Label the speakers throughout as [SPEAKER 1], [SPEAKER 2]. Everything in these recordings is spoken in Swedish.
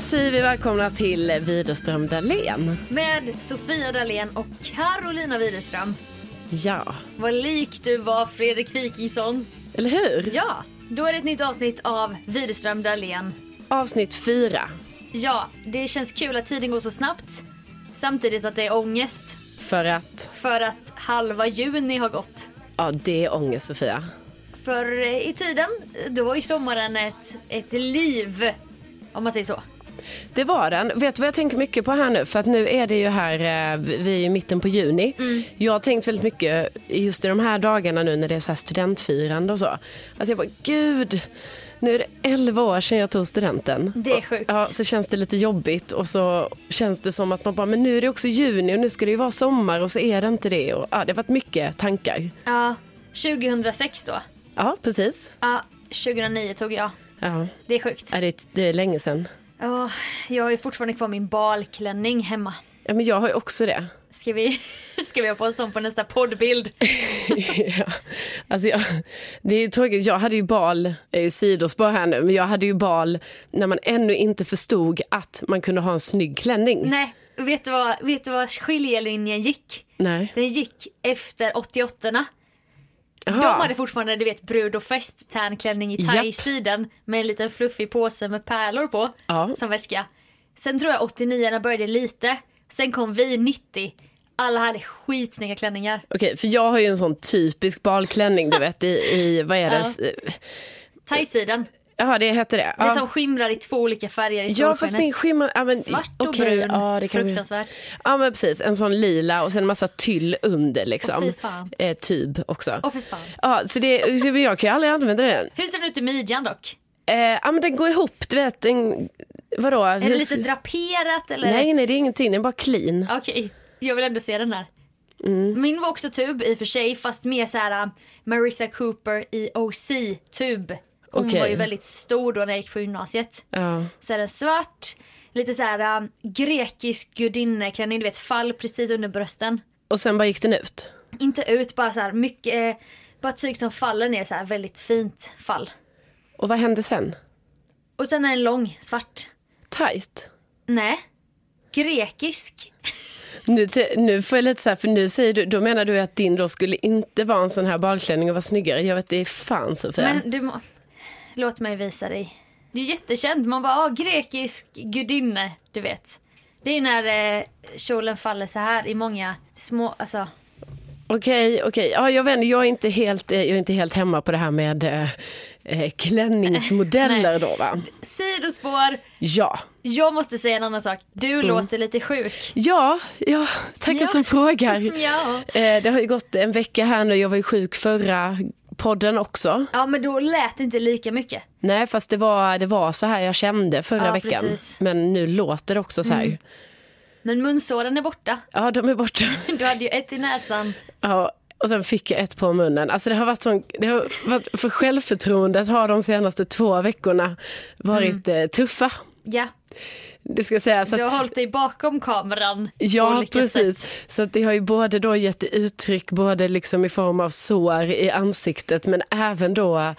[SPEAKER 1] säger vi välkomna till Widerström Dahlén.
[SPEAKER 2] Med Sofia Dalén och Carolina Widerström.
[SPEAKER 1] Ja,
[SPEAKER 2] Vad lik du var Fredrik Wikingsson.
[SPEAKER 1] eller hur?
[SPEAKER 2] Ja, då är det ett nytt avsnitt av Widerström Dahlén.
[SPEAKER 1] Avsnitt fyra.
[SPEAKER 2] Ja, det känns kul att tiden går så snabbt. Samtidigt att det är ångest
[SPEAKER 1] För att,
[SPEAKER 2] för att halva juni har gått.
[SPEAKER 1] ja det är ångest Sofia.
[SPEAKER 2] För eh, i tiden, då var ju sommaren ett, ett liv. Om man säger så.
[SPEAKER 1] Det var den. Vet du vad jag tänker mycket på här nu? För att nu är det ju här, eh, vi är i mitten på juni.
[SPEAKER 2] Mm.
[SPEAKER 1] Jag har tänkt väldigt mycket just i de här dagarna nu när det är så här studentfirande och så. Alltså jag bara, gud. Nu är det 11 år sedan jag tog studenten.
[SPEAKER 2] Det är sjukt.
[SPEAKER 1] Ja, så känns det lite jobbigt och så känns det som att man bara, men nu är det också juni och nu ska det ju vara sommar och så är det inte det. Och, ja, det har varit mycket tankar.
[SPEAKER 2] Ja, 2006 då.
[SPEAKER 1] Ja, precis.
[SPEAKER 2] Ja, 2009 tog jag.
[SPEAKER 1] Ja,
[SPEAKER 2] Det är sjukt.
[SPEAKER 1] ja, det, är- det är länge sedan.
[SPEAKER 2] Ja, jag har ju fortfarande kvar min balklänning hemma.
[SPEAKER 1] Ja, men jag har ju också det.
[SPEAKER 2] Ska vi, ska vi ha på oss dem på nästa poddbild?
[SPEAKER 1] ja. Alltså jag, det är tråkigt, jag hade ju bal, eh, sidospår här nu, men jag hade ju bal när man ännu inte förstod att man kunde ha en snygg klänning.
[SPEAKER 2] Nej, vet du, vad, vet du vad skiljelinjen gick?
[SPEAKER 1] Nej.
[SPEAKER 2] Den gick efter 88 erna
[SPEAKER 1] Jaha.
[SPEAKER 2] De hade fortfarande du vet, brud och fest klänning i
[SPEAKER 1] Japp.
[SPEAKER 2] thai-sidan med en liten fluffig påse med pärlor på
[SPEAKER 1] Ja.
[SPEAKER 2] som väska. Sen tror jag 89 erna började lite. Sen kom vi 90. Alla hade skitsnygga klänningar.
[SPEAKER 1] Okej, för jag har ju en sån typisk balklänning du vet i, i vad är det? S-
[SPEAKER 2] Thai-sidan,
[SPEAKER 1] Jaha, det heter det.
[SPEAKER 2] det
[SPEAKER 1] Ja.
[SPEAKER 2] som skimrar i två olika färger i
[SPEAKER 1] Ja fast min
[SPEAKER 2] solskenet.
[SPEAKER 1] skimmer... Ja, men,
[SPEAKER 2] Svart och
[SPEAKER 1] okej,
[SPEAKER 2] brun,
[SPEAKER 1] ja, det kan vi-
[SPEAKER 2] fruktansvärt.
[SPEAKER 1] Ja men precis, en sån lila och sen en massa tyll under liksom.
[SPEAKER 2] Åh, fy fan.
[SPEAKER 1] Eh, tub också.
[SPEAKER 2] Åh, fy fan.
[SPEAKER 1] Ja, så det, så jag kan ju aldrig använda den.
[SPEAKER 2] Hur ser den ut i midjan dock?
[SPEAKER 1] Eh, ja men den går ihop, du vet. Den, vadå?
[SPEAKER 2] Är det lite draperat eller?
[SPEAKER 1] nej nej det är ingenting, den är bara clean.
[SPEAKER 2] Okej, jag vill ändå se den här.
[SPEAKER 1] Mm.
[SPEAKER 2] Min var också tub i och för sig fast mer så här äh, Marissa Cooper i OC tub. Hon
[SPEAKER 1] Okej.
[SPEAKER 2] var ju väldigt stor då när jag gick på gymnasiet.
[SPEAKER 1] Ja.
[SPEAKER 2] Så är den svart, lite så här äh, grekisk gudinneklänning, du vet fall precis under brösten.
[SPEAKER 1] Och sen bara gick den ut.
[SPEAKER 2] Inte ut, bara så här mycket, eh, bara tyg som faller ner så här väldigt fint fall.
[SPEAKER 1] Och vad hände sen?
[SPEAKER 2] Och sen är den lång, svart.
[SPEAKER 1] Tight.
[SPEAKER 2] Nej, grekisk.
[SPEAKER 1] Nu, te- nu får jag lite så här, för nu säger du, då menar du att din då skulle inte vara en sån här balklänning och vara snyggare. Jag vet det är fan Sofia.
[SPEAKER 2] Men du må... Låt mig visa dig. Det är jättekänt. Man bara, ah, grekisk gudinne, du vet. Det är ju när eh, kjolen faller så här i många små, alltså.
[SPEAKER 1] Okej, okej. Ja, jag, vänder, jag, är inte helt, eh, jag är inte helt hemma på det här med eh, eh, klänningsmodeller då va?
[SPEAKER 2] Sidospår.
[SPEAKER 1] Ja.
[SPEAKER 2] Jag måste säga en annan sak. Du
[SPEAKER 1] Mm.
[SPEAKER 2] låter lite sjuk.
[SPEAKER 1] Ja, ja tackar
[SPEAKER 2] Ja.
[SPEAKER 1] som frågar.
[SPEAKER 2] Ja.
[SPEAKER 1] Eh, det har ju gått en vecka här nu. Jag var ju sjuk förra podden också.
[SPEAKER 2] Ja, men då lät det inte lika mycket.
[SPEAKER 1] Nej, fast det var, det var så här jag kände förra
[SPEAKER 2] Ja,
[SPEAKER 1] veckan.
[SPEAKER 2] precis. Mm.
[SPEAKER 1] Men nu låter det också så här.
[SPEAKER 2] Men munsåren är borta.
[SPEAKER 1] Ja, de är borta.
[SPEAKER 2] Du hade ju ett i näsan.
[SPEAKER 1] Ja, och sen fick jag ett på munnen. Alltså det har varit sån, det har varit, för självförtroendet har de senaste två veckorna varit
[SPEAKER 2] Mm.
[SPEAKER 1] eh, tuffa.
[SPEAKER 2] Ja,
[SPEAKER 1] Det ska sägas att
[SPEAKER 2] du har hållit dig bakom kameran. på
[SPEAKER 1] Ja,
[SPEAKER 2] olika
[SPEAKER 1] precis.
[SPEAKER 2] sätt.
[SPEAKER 1] Så att det har ju både då gett uttryck både liksom i form av sår i ansiktet men även då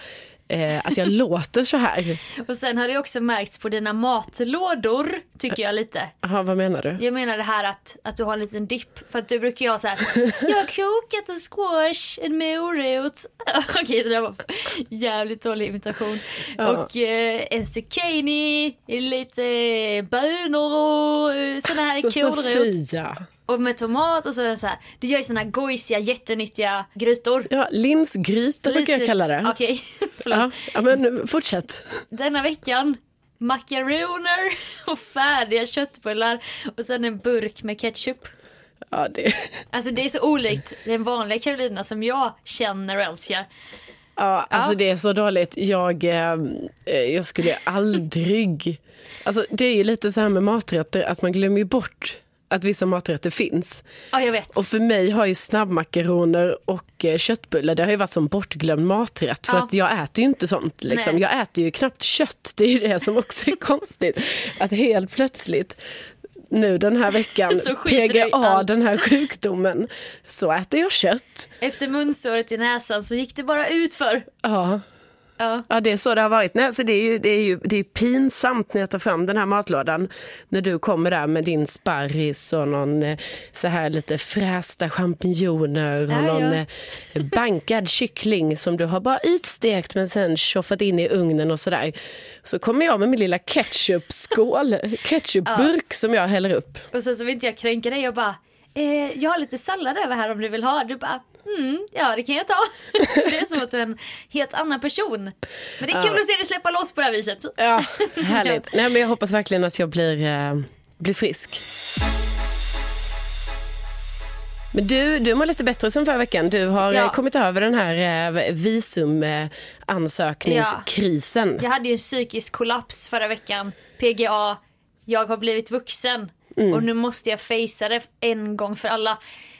[SPEAKER 1] eh, att jag låter så här.
[SPEAKER 2] Och sen har det också märkts på dina matlådor, tycker jag lite.
[SPEAKER 1] Jaha, vad menar du?
[SPEAKER 2] Jag menar det här att, att du har en liten dipp. För att du brukar ju ha så här. Jag har kokat en squash, en morot. Okej det där var jävligt dålig imitation.
[SPEAKER 1] Ja.
[SPEAKER 2] Och eh, en zucchini, lite bönor och eh, såna här
[SPEAKER 1] Så
[SPEAKER 2] kålrot.
[SPEAKER 1] Sofia.
[SPEAKER 2] Och med tomat och så, så här. Du gör ju såna här gojsiga jättenyttiga grytor.
[SPEAKER 1] Ja, linsgryta brukar jag
[SPEAKER 2] Lysgryt-
[SPEAKER 1] kalla det.
[SPEAKER 2] Okej, förlåt.
[SPEAKER 1] Ja, ja, men nu, fortsätt.
[SPEAKER 2] Denna veckan makaroner och färdiga köttbullar och sen en burk med ketchup.
[SPEAKER 1] Ja, det,
[SPEAKER 2] Alltså det är så olikt den vanliga Carolina som jag känner och älskar.
[SPEAKER 1] ja, alltså det är så dåligt. Jag, eh, jag skulle aldrig... Alltså, det är ju lite så här med maträtter att man glömmer ju bort att vissa maträtter finns.
[SPEAKER 2] Ja, jag vet.
[SPEAKER 1] Och för mig har ju snabbmakaroner och eh, köttbullar det har ju varit som bortglömd maträtt. För
[SPEAKER 2] Ja.
[SPEAKER 1] att jag äter ju inte sånt. Liksom.
[SPEAKER 2] Nej.
[SPEAKER 1] Jag äter ju knappt kött. Det är ju det som också är konstigt. Att helt plötsligt nu den här veckan,
[SPEAKER 2] Så skiter du i
[SPEAKER 1] PGA,
[SPEAKER 2] allt.
[SPEAKER 1] den här sjukdomen, så äter jag kött.
[SPEAKER 2] Efter munsåret i näsan så gick det bara ut för.
[SPEAKER 1] Ja.
[SPEAKER 2] Ja.
[SPEAKER 1] Ja, det är så det har varit. Nej, så det är ju, det är ju det är pinsamt när jag tar fram den här matlådan. När du kommer där med din sparris och någon eh, så här lite frästa champinjoner och
[SPEAKER 2] Ja, ja.
[SPEAKER 1] någon eh, bankad kyckling som du har bara utstekt men sen tjoffat in i ugnen och sådär. Så kommer jag med min lilla ketchupskål, ketchupburk som jag häller upp.
[SPEAKER 2] Och sen så vill inte jag kränka dig. Jag bara, eh, jag har lite sallad över här om du vill ha. Du bara, mm, ja det kan jag ta. det är som att du är en helt annan person. Men det är kul att se dig släppa loss på det här viset.
[SPEAKER 1] Ja, härligt. Nej, men jag hoppas verkligen att jag blir, eh, blir frisk. Men du, du mår lite bättre sen förra veckan. Du har
[SPEAKER 2] Ja.
[SPEAKER 1] eh, kommit över den här eh, visumansökningskrisen.
[SPEAKER 2] Jag hade ju en psykisk kollaps förra veckan. PGA, jag har blivit vuxen. Och nu måste jag facea det en gång för alla.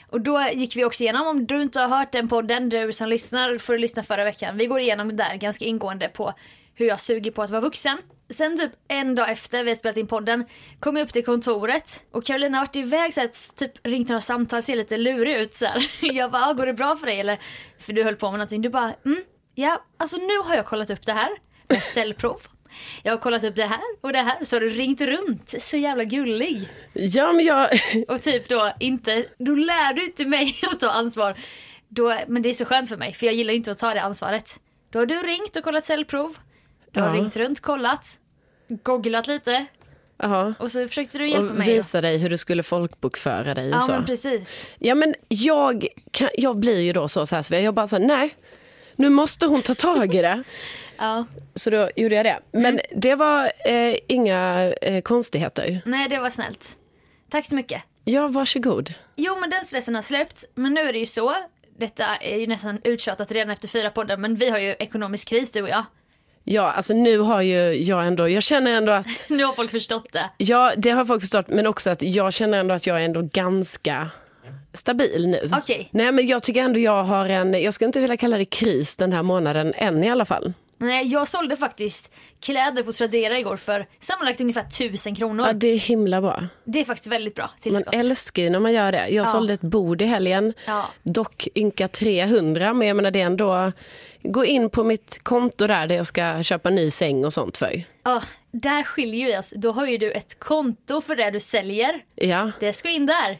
[SPEAKER 2] Och då gick vi också igenom, om du inte har hört den podden, du som lyssnar får du lyssna förra veckan. Vi går igenom det där ganska ingående på hur jag suger på att vara vuxen. Sen typ en dag efter vi har spelat in podden kom jag upp till kontoret och Carolina har varit iväg så här, typ ringt några samtal, ser lite lurig ut så här. Jag bara, "Ah, går det bra för dig eller? För du höll på med någonting. Du bara, mm, ja, alltså nu har jag kollat upp det här med cellprov. Jag har kollat upp det här och det här så har du ringt runt. Så jävla gullig.
[SPEAKER 1] Ja, men jag...
[SPEAKER 2] Och typ då inte, då lär du inte mig att ta ansvar. Då, men det är så skönt för mig för jag gillar ju inte att ta det ansvaret. Då har du ringt och kollat cellprov. Du har
[SPEAKER 1] Ja.
[SPEAKER 2] ringt runt, kollat, googlat lite
[SPEAKER 1] Jaha.
[SPEAKER 2] och så försökte du hjälpa
[SPEAKER 1] Och
[SPEAKER 2] mig.
[SPEAKER 1] visa dig hur du skulle folkbokföra dig. och
[SPEAKER 2] Ja
[SPEAKER 1] så.
[SPEAKER 2] men precis.
[SPEAKER 1] Ja men jag, kan, jag blir ju då så, så här, så jag bara så här, nej, nu måste hon ta tag i det.
[SPEAKER 2] Ja.
[SPEAKER 1] Så då gjorde jag det. Men
[SPEAKER 2] Mm.
[SPEAKER 1] det var eh, inga eh, konstigheter.
[SPEAKER 2] Nej det var snällt. Tack så mycket.
[SPEAKER 1] Ja, varsågod.
[SPEAKER 2] Jo men den stressen har släppt, men nu är det ju så. Detta är ju nästan uttjatat redan efter fyra poddar men vi har ju ekonomisk kris du och jag.
[SPEAKER 1] Ja, alltså nu har ju jag ändå, jag känner ändå att,
[SPEAKER 2] Nu har folk förstått det.
[SPEAKER 1] ja det har folk förstått, men också att jag känner ändå att jag är ändå ganska stabil nu.
[SPEAKER 2] Okej.
[SPEAKER 1] Nej men jag tycker ändå jag har en, jag skulle inte vilja kalla det kris den här månaden än i alla fall.
[SPEAKER 2] Nej, jag sålde faktiskt kläder på Tradera igår för sammanlagt ungefär 1000 kronor.
[SPEAKER 1] Ja det är himla bra.
[SPEAKER 2] Det är faktiskt väldigt bra
[SPEAKER 1] Man
[SPEAKER 2] tillskott.
[SPEAKER 1] älskar ju när man gör det. Jag sålde ett bord i helgen,
[SPEAKER 2] Ja.
[SPEAKER 1] dock ynka 300 men jag menar det är ändå, gå in på mitt konto där där jag ska köpa ny säng och sånt för.
[SPEAKER 2] Ja, där skiljer vi oss. Då har ju du ett konto för det du säljer.
[SPEAKER 1] Ja.
[SPEAKER 2] Det ska in där.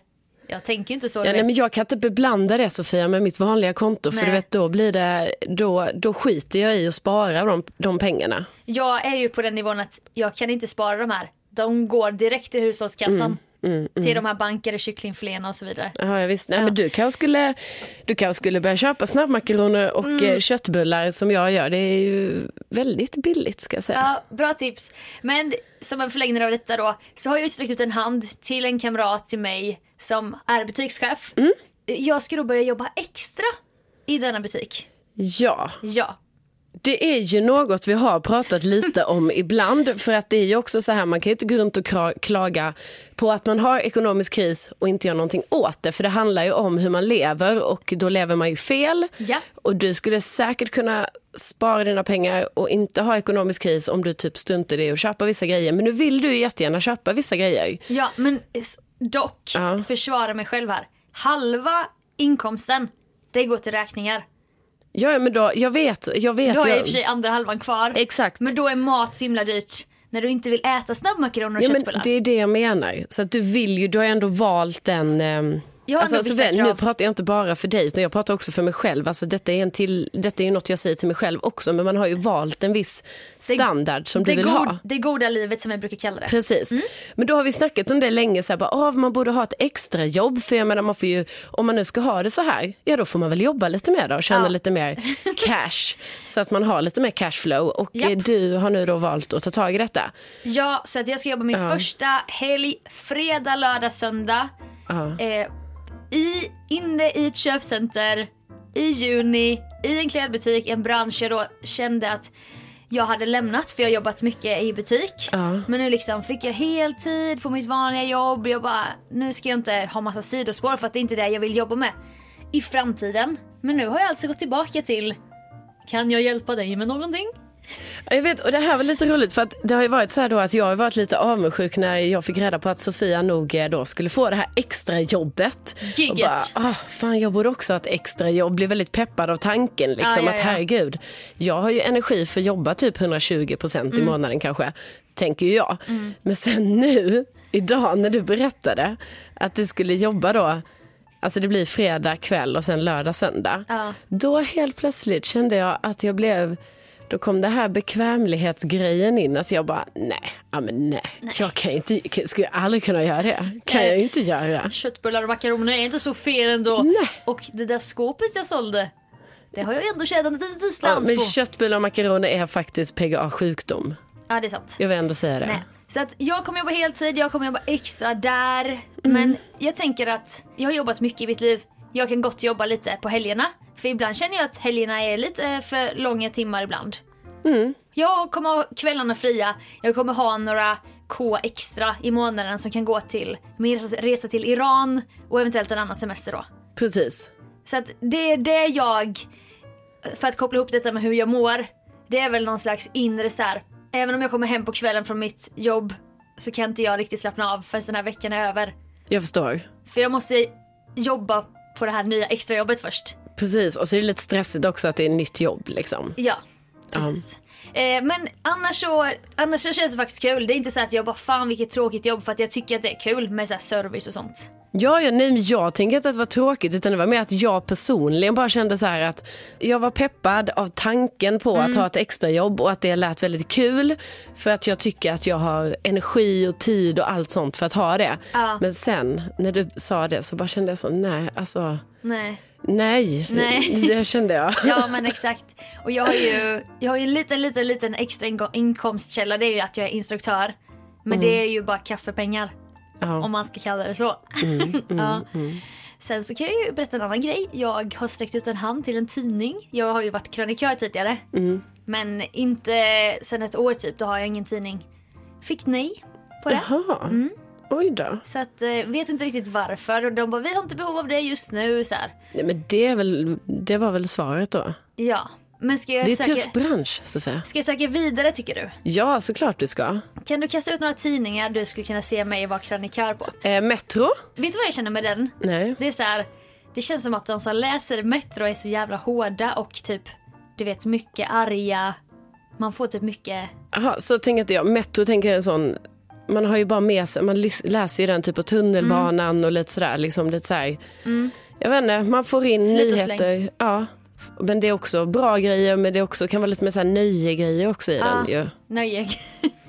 [SPEAKER 2] Jag tänker ju inte så. du
[SPEAKER 1] Ja, nej,
[SPEAKER 2] vet.
[SPEAKER 1] men jag kan inte beblanda det Sofia med mitt vanliga konto för
[SPEAKER 2] Nej.
[SPEAKER 1] du vet då blir det, då, då skiter jag i att spara de, de pengarna.
[SPEAKER 2] Jag är ju på den nivån att jag kan inte spara de här. De går direkt till hushållskassan. Till de här bankade kycklingfiléerna och så vidare.
[SPEAKER 1] Ja, jag visste. Nej, men du kanske skulle, du kanske skulle börja köpa snabbmakaroner och eh, köttbullar som jag gör. Det är ju väldigt billigt ska jag säga.
[SPEAKER 2] Ja, bra tips. Men som en förlängning av detta då, så har jag ju sträckt ut en hand till en kamrat till mig som är butikschef.
[SPEAKER 1] Mm.
[SPEAKER 2] Jag ska då börja jobba extra i denna butik.
[SPEAKER 1] Ja,
[SPEAKER 2] Ja.
[SPEAKER 1] det är ju något vi har pratat lite om ibland. För att det är ju också så här, man kan ju inte gå runt och kra- klaga på att man har ekonomisk kris och inte gör någonting åt det. För det handlar ju om hur man lever och då lever man ju fel.
[SPEAKER 2] Ja.
[SPEAKER 1] Och du skulle säkert kunna spara dina pengar och inte ha ekonomisk kris om du typ stuntar i att köpa vissa grejer. Men nu vill du ju jättegärna köpa vissa grejer.
[SPEAKER 2] Ja, men s- dock,
[SPEAKER 1] Ja.
[SPEAKER 2] försvara mig själv här. Halva inkomsten, det går till räkningar.
[SPEAKER 1] Ja, ja, men då, jag vet. Jag vet
[SPEAKER 2] Då har jag i
[SPEAKER 1] jag,
[SPEAKER 2] och för sig andra halvan kvar.
[SPEAKER 1] Exakt.
[SPEAKER 2] Men då är mat så himla dyrt när du inte vill äta snabbmakaroner och
[SPEAKER 1] ja, men
[SPEAKER 2] köttbullar.
[SPEAKER 1] det är det jag menar. Så att du vill ju, du har ju ändå valt den... ehm,
[SPEAKER 2] Jag har ändå
[SPEAKER 1] så
[SPEAKER 2] vissa
[SPEAKER 1] väl, nu
[SPEAKER 2] krav.
[SPEAKER 1] pratar jag inte bara för dig, utan jag pratar också för mig själv. Alltså, detta, är en till, detta är ju något jag säger till mig själv också, men man har ju valt en viss standard som
[SPEAKER 2] det, Mm.
[SPEAKER 1] du vill
[SPEAKER 2] god-
[SPEAKER 1] ha.
[SPEAKER 2] det goda livet som jag brukar kalla det.
[SPEAKER 1] Precis. Men då har vi snackat om det länge, så här, bara, ah, man borde ha ett extra jobb för jag menar, man får ju, om man nu ska ha det så här, ja då får man väl jobba lite mer då och tjäna
[SPEAKER 2] Ja.
[SPEAKER 1] lite mer cash. så att man har lite mer cashflow och
[SPEAKER 2] Japp.
[SPEAKER 1] eh, du har nu då valt att ta tag i detta.
[SPEAKER 2] Ja, så att jag ska jobba min första helg, fredag, lördag, söndag.
[SPEAKER 1] Ja.
[SPEAKER 2] Eh, i, inne i ett köpcenter i juni, i en klädbutik, en bransch jag då kände att jag hade lämnat för jag har jobbat mycket i butik.
[SPEAKER 1] Ja.
[SPEAKER 2] Men nu liksom fick jag heltid på mitt vanliga jobb. Jag bara, nu ska jag inte ha massa sidospår för att det är inte det jag vill jobba med i framtiden. Men nu har jag alltså gått tillbaka till, kan jag hjälpa dig med någonting?
[SPEAKER 1] Ja, Jag vet, och det här var lite roligt för att det har ju varit så här då att jag har varit lite avundsjuk när jag fick reda på att Sofia nog eh, då skulle få det här extra jobbet.
[SPEAKER 2] Gigget.
[SPEAKER 1] Och bara, ah, fan jag borde också ha ett extra jobb. Blev väldigt peppad av tanken liksom
[SPEAKER 2] Ja, ja,
[SPEAKER 1] att
[SPEAKER 2] ja.
[SPEAKER 1] herregud, jag har ju energi för att jobba typ 120 procent
[SPEAKER 2] Mm.
[SPEAKER 1] i månaden kanske, tänker ju jag. Men sen nu, idag när du berättade att du skulle jobba då Alltså det blir fredag kväll och sen lördag söndag.
[SPEAKER 2] Ja.
[SPEAKER 1] Då helt plötsligt kände jag att jag blev, då kom det här bekvämlighetsgrejen in. Alltså jag bara, nej, ja, men nej. jag kan inte, kan- skulle jag aldrig kunna göra det. Kan
[SPEAKER 2] Nej.
[SPEAKER 1] jag ju inte göra.
[SPEAKER 2] Köttbullar och makaroner är inte så fel ändå.
[SPEAKER 1] Nej.
[SPEAKER 2] Och det där skåpet jag sålde, det har jag ändå tjänat en liten
[SPEAKER 1] Ja,
[SPEAKER 2] slant
[SPEAKER 1] men
[SPEAKER 2] på.
[SPEAKER 1] köttbullar och makaroner är faktiskt PGA-sjukdom.
[SPEAKER 2] Ja, det är sant.
[SPEAKER 1] Jag vill ändå säga det.
[SPEAKER 2] Nej. Så att jag kommer jobba heltid, jag kommer jobba extra där.
[SPEAKER 1] Mm.
[SPEAKER 2] Men jag tänker att jag har jobbat mycket i mitt liv. Jag kan gott jobba lite på helgerna. För ibland känner jag att helgerna är lite eh, för långa timmar ibland.
[SPEAKER 1] Mm.
[SPEAKER 2] Jag kommer ha kvällarna fria. Jag kommer ha några K extra i månaden som kan gå till min resa- resa till Iran och eventuellt en annan semester då.
[SPEAKER 1] Precis.
[SPEAKER 2] Så att det är det jag, för att koppla ihop detta med hur jag mår, det är väl någon slags inre så här. Även om jag kommer hem på kvällen från mitt jobb så kan inte jag riktigt slappna av förrän den här veckan är över.
[SPEAKER 1] Jag förstår.
[SPEAKER 2] För jag måste jobba på det här nya extrajobbet först.
[SPEAKER 1] Precis, och så är det lite stressigt också att det är nytt jobb liksom.
[SPEAKER 2] Ja, precis. Eh, men annars så, annars så känns det faktiskt kul. Det är inte så att jag bara fan vilket tråkigt jobb för att jag tycker att det är kul med så här service och sånt.
[SPEAKER 1] Ja, ja, nej, men jag tänker inte att det var tråkigt utan det var mer att jag personligen bara kände så här att jag var peppad av tanken på
[SPEAKER 2] Mm.
[SPEAKER 1] att ha ett extrajobb och att det lät väldigt kul för att jag tycker att jag har energi och tid och allt sånt för att ha det.
[SPEAKER 2] Ja.
[SPEAKER 1] Men sen när du sa det så bara kände jag så nej, alltså
[SPEAKER 2] Nej.
[SPEAKER 1] nej,
[SPEAKER 2] Nej.
[SPEAKER 1] det kände jag.
[SPEAKER 2] Ja men exakt. Och jag har ju, jag har ju en liten, liten, liten extra ingo- inkomstkälla. Det är ju att jag är instruktör. Men det
[SPEAKER 1] Mm.
[SPEAKER 2] är ju bara kaffepengar.
[SPEAKER 1] Ja.
[SPEAKER 2] Om man ska kalla det så.
[SPEAKER 1] Mm,
[SPEAKER 2] ja. Sen så kan jag ju berätta en annan grej. Jag har sträckt ut en hand till en tidning. Jag har ju varit krönikör tidigare.
[SPEAKER 1] Mm.
[SPEAKER 2] Men inte sen ett år typ. Då har jag ingen tidning. Fick nej på det.
[SPEAKER 1] Jaha,
[SPEAKER 2] Mm.
[SPEAKER 1] oj då.
[SPEAKER 2] Så att eh, vet inte riktigt varför. Och de bara vi har inte behov av det just nu. Så här.
[SPEAKER 1] Nej, men det, är väl, det var väl svaret då.
[SPEAKER 2] Ja. Men ska jag,
[SPEAKER 1] Det är
[SPEAKER 2] söka,
[SPEAKER 1] tuff bransch, Sofia.
[SPEAKER 2] ska jag söka vidare tycker du?
[SPEAKER 1] Ja, såklart du ska.
[SPEAKER 2] Kan du kasta ut några tidningar du skulle kunna se mig vara krönikör på?
[SPEAKER 1] Eh, Metro?
[SPEAKER 2] Vet du vad jag känner med den?
[SPEAKER 1] Nej.
[SPEAKER 2] Det är så här, det känns som att de som läser Metro är så jävla hårda och typ, du vet mycket arga. Man får typ mycket,
[SPEAKER 1] Jaha, så tänker inte jag. Metro tänker jag en sån... Man har ju bara med sig, man lys- läser ju den typ på tunnelbanan
[SPEAKER 2] Mm.
[SPEAKER 1] och lite sådär. Liksom lite såhär. Jag vet inte, man får in
[SPEAKER 2] Slit och
[SPEAKER 1] nyheter. Ja. Men det är också bra grejer, men det är också, kan vara lite mer såhär nöjegrejer också i den ju.
[SPEAKER 2] nöje.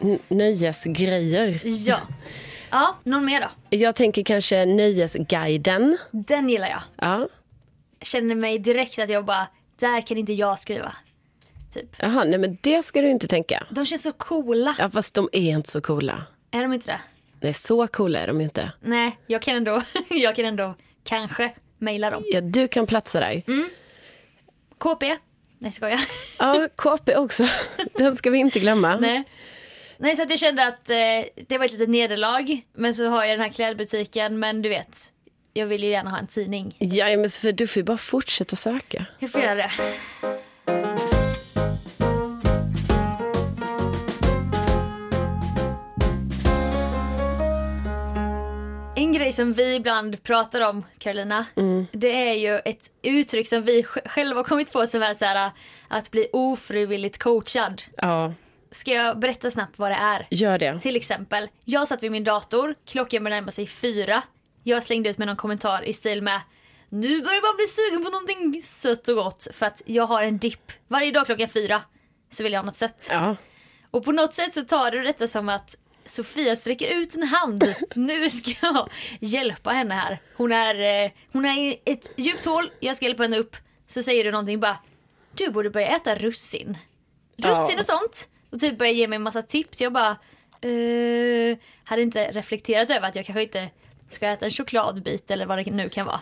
[SPEAKER 1] N- nöjesgrejer.
[SPEAKER 2] ja. Ja, någon mer då?
[SPEAKER 1] Jag tänker kanske Nöjesguiden.
[SPEAKER 2] Den gillar jag.
[SPEAKER 1] Ja.
[SPEAKER 2] Känner mig direkt att jag bara, där kan inte jag skriva. Typ.
[SPEAKER 1] Jaha, nej men det ska du inte tänka.
[SPEAKER 2] De känns så coola.
[SPEAKER 1] Ja, fast de är inte så coola.
[SPEAKER 2] Är de inte det?
[SPEAKER 1] Nej, så coola är de ju inte.
[SPEAKER 2] Nej, jag kan ändå, jag kan ändå kanske mejla dem.
[SPEAKER 1] Ja, du kan platsa dig.
[SPEAKER 2] Mm. KP? Nej, skojar.
[SPEAKER 1] Ja, KP också. Den ska vi inte glömma.
[SPEAKER 2] Nej. Nej, så att jag kände att eh, det var ett litet nederlag. Men så har jag den här klädbutiken. Men du vet, jag vill ju gärna ha en tidning.
[SPEAKER 1] Ja, men Sofia, du får ju bara fortsätta söka.
[SPEAKER 2] Jag får göra det. En grej som vi ibland pratar om, Carolina, det är ju ett uttryck som vi sj- själva har kommit på som är så här, att bli ofrivilligt coachad.
[SPEAKER 1] Ja,
[SPEAKER 2] Ska jag berätta snabbt vad det är?
[SPEAKER 1] gör det.
[SPEAKER 2] Till exempel, jag satt vid min dator, klockan började närma sig fyra. Jag slängde ut med någon kommentar i stil med Nu börjar man bli sugen på någonting sött och gott för att jag har en dipp. Varje dag klockan fyra så vill jag ha något sött.
[SPEAKER 1] Ja.
[SPEAKER 2] Och på något sätt så tar du detta som att Sofia sträcker ut en hand. Nu ska jag hjälpa henne här. Hon är, eh, hon är i ett djupt hål, jag ska hjälpa henne upp. Så säger du någonting bara Du borde börja äta russin. Russin
[SPEAKER 1] Ja.
[SPEAKER 2] och sånt. Och typ börjar ge mig en massa tips. Jag bara eh, Hade inte reflekterat över att jag kanske inte ska äta en chokladbit eller vad det nu kan vara.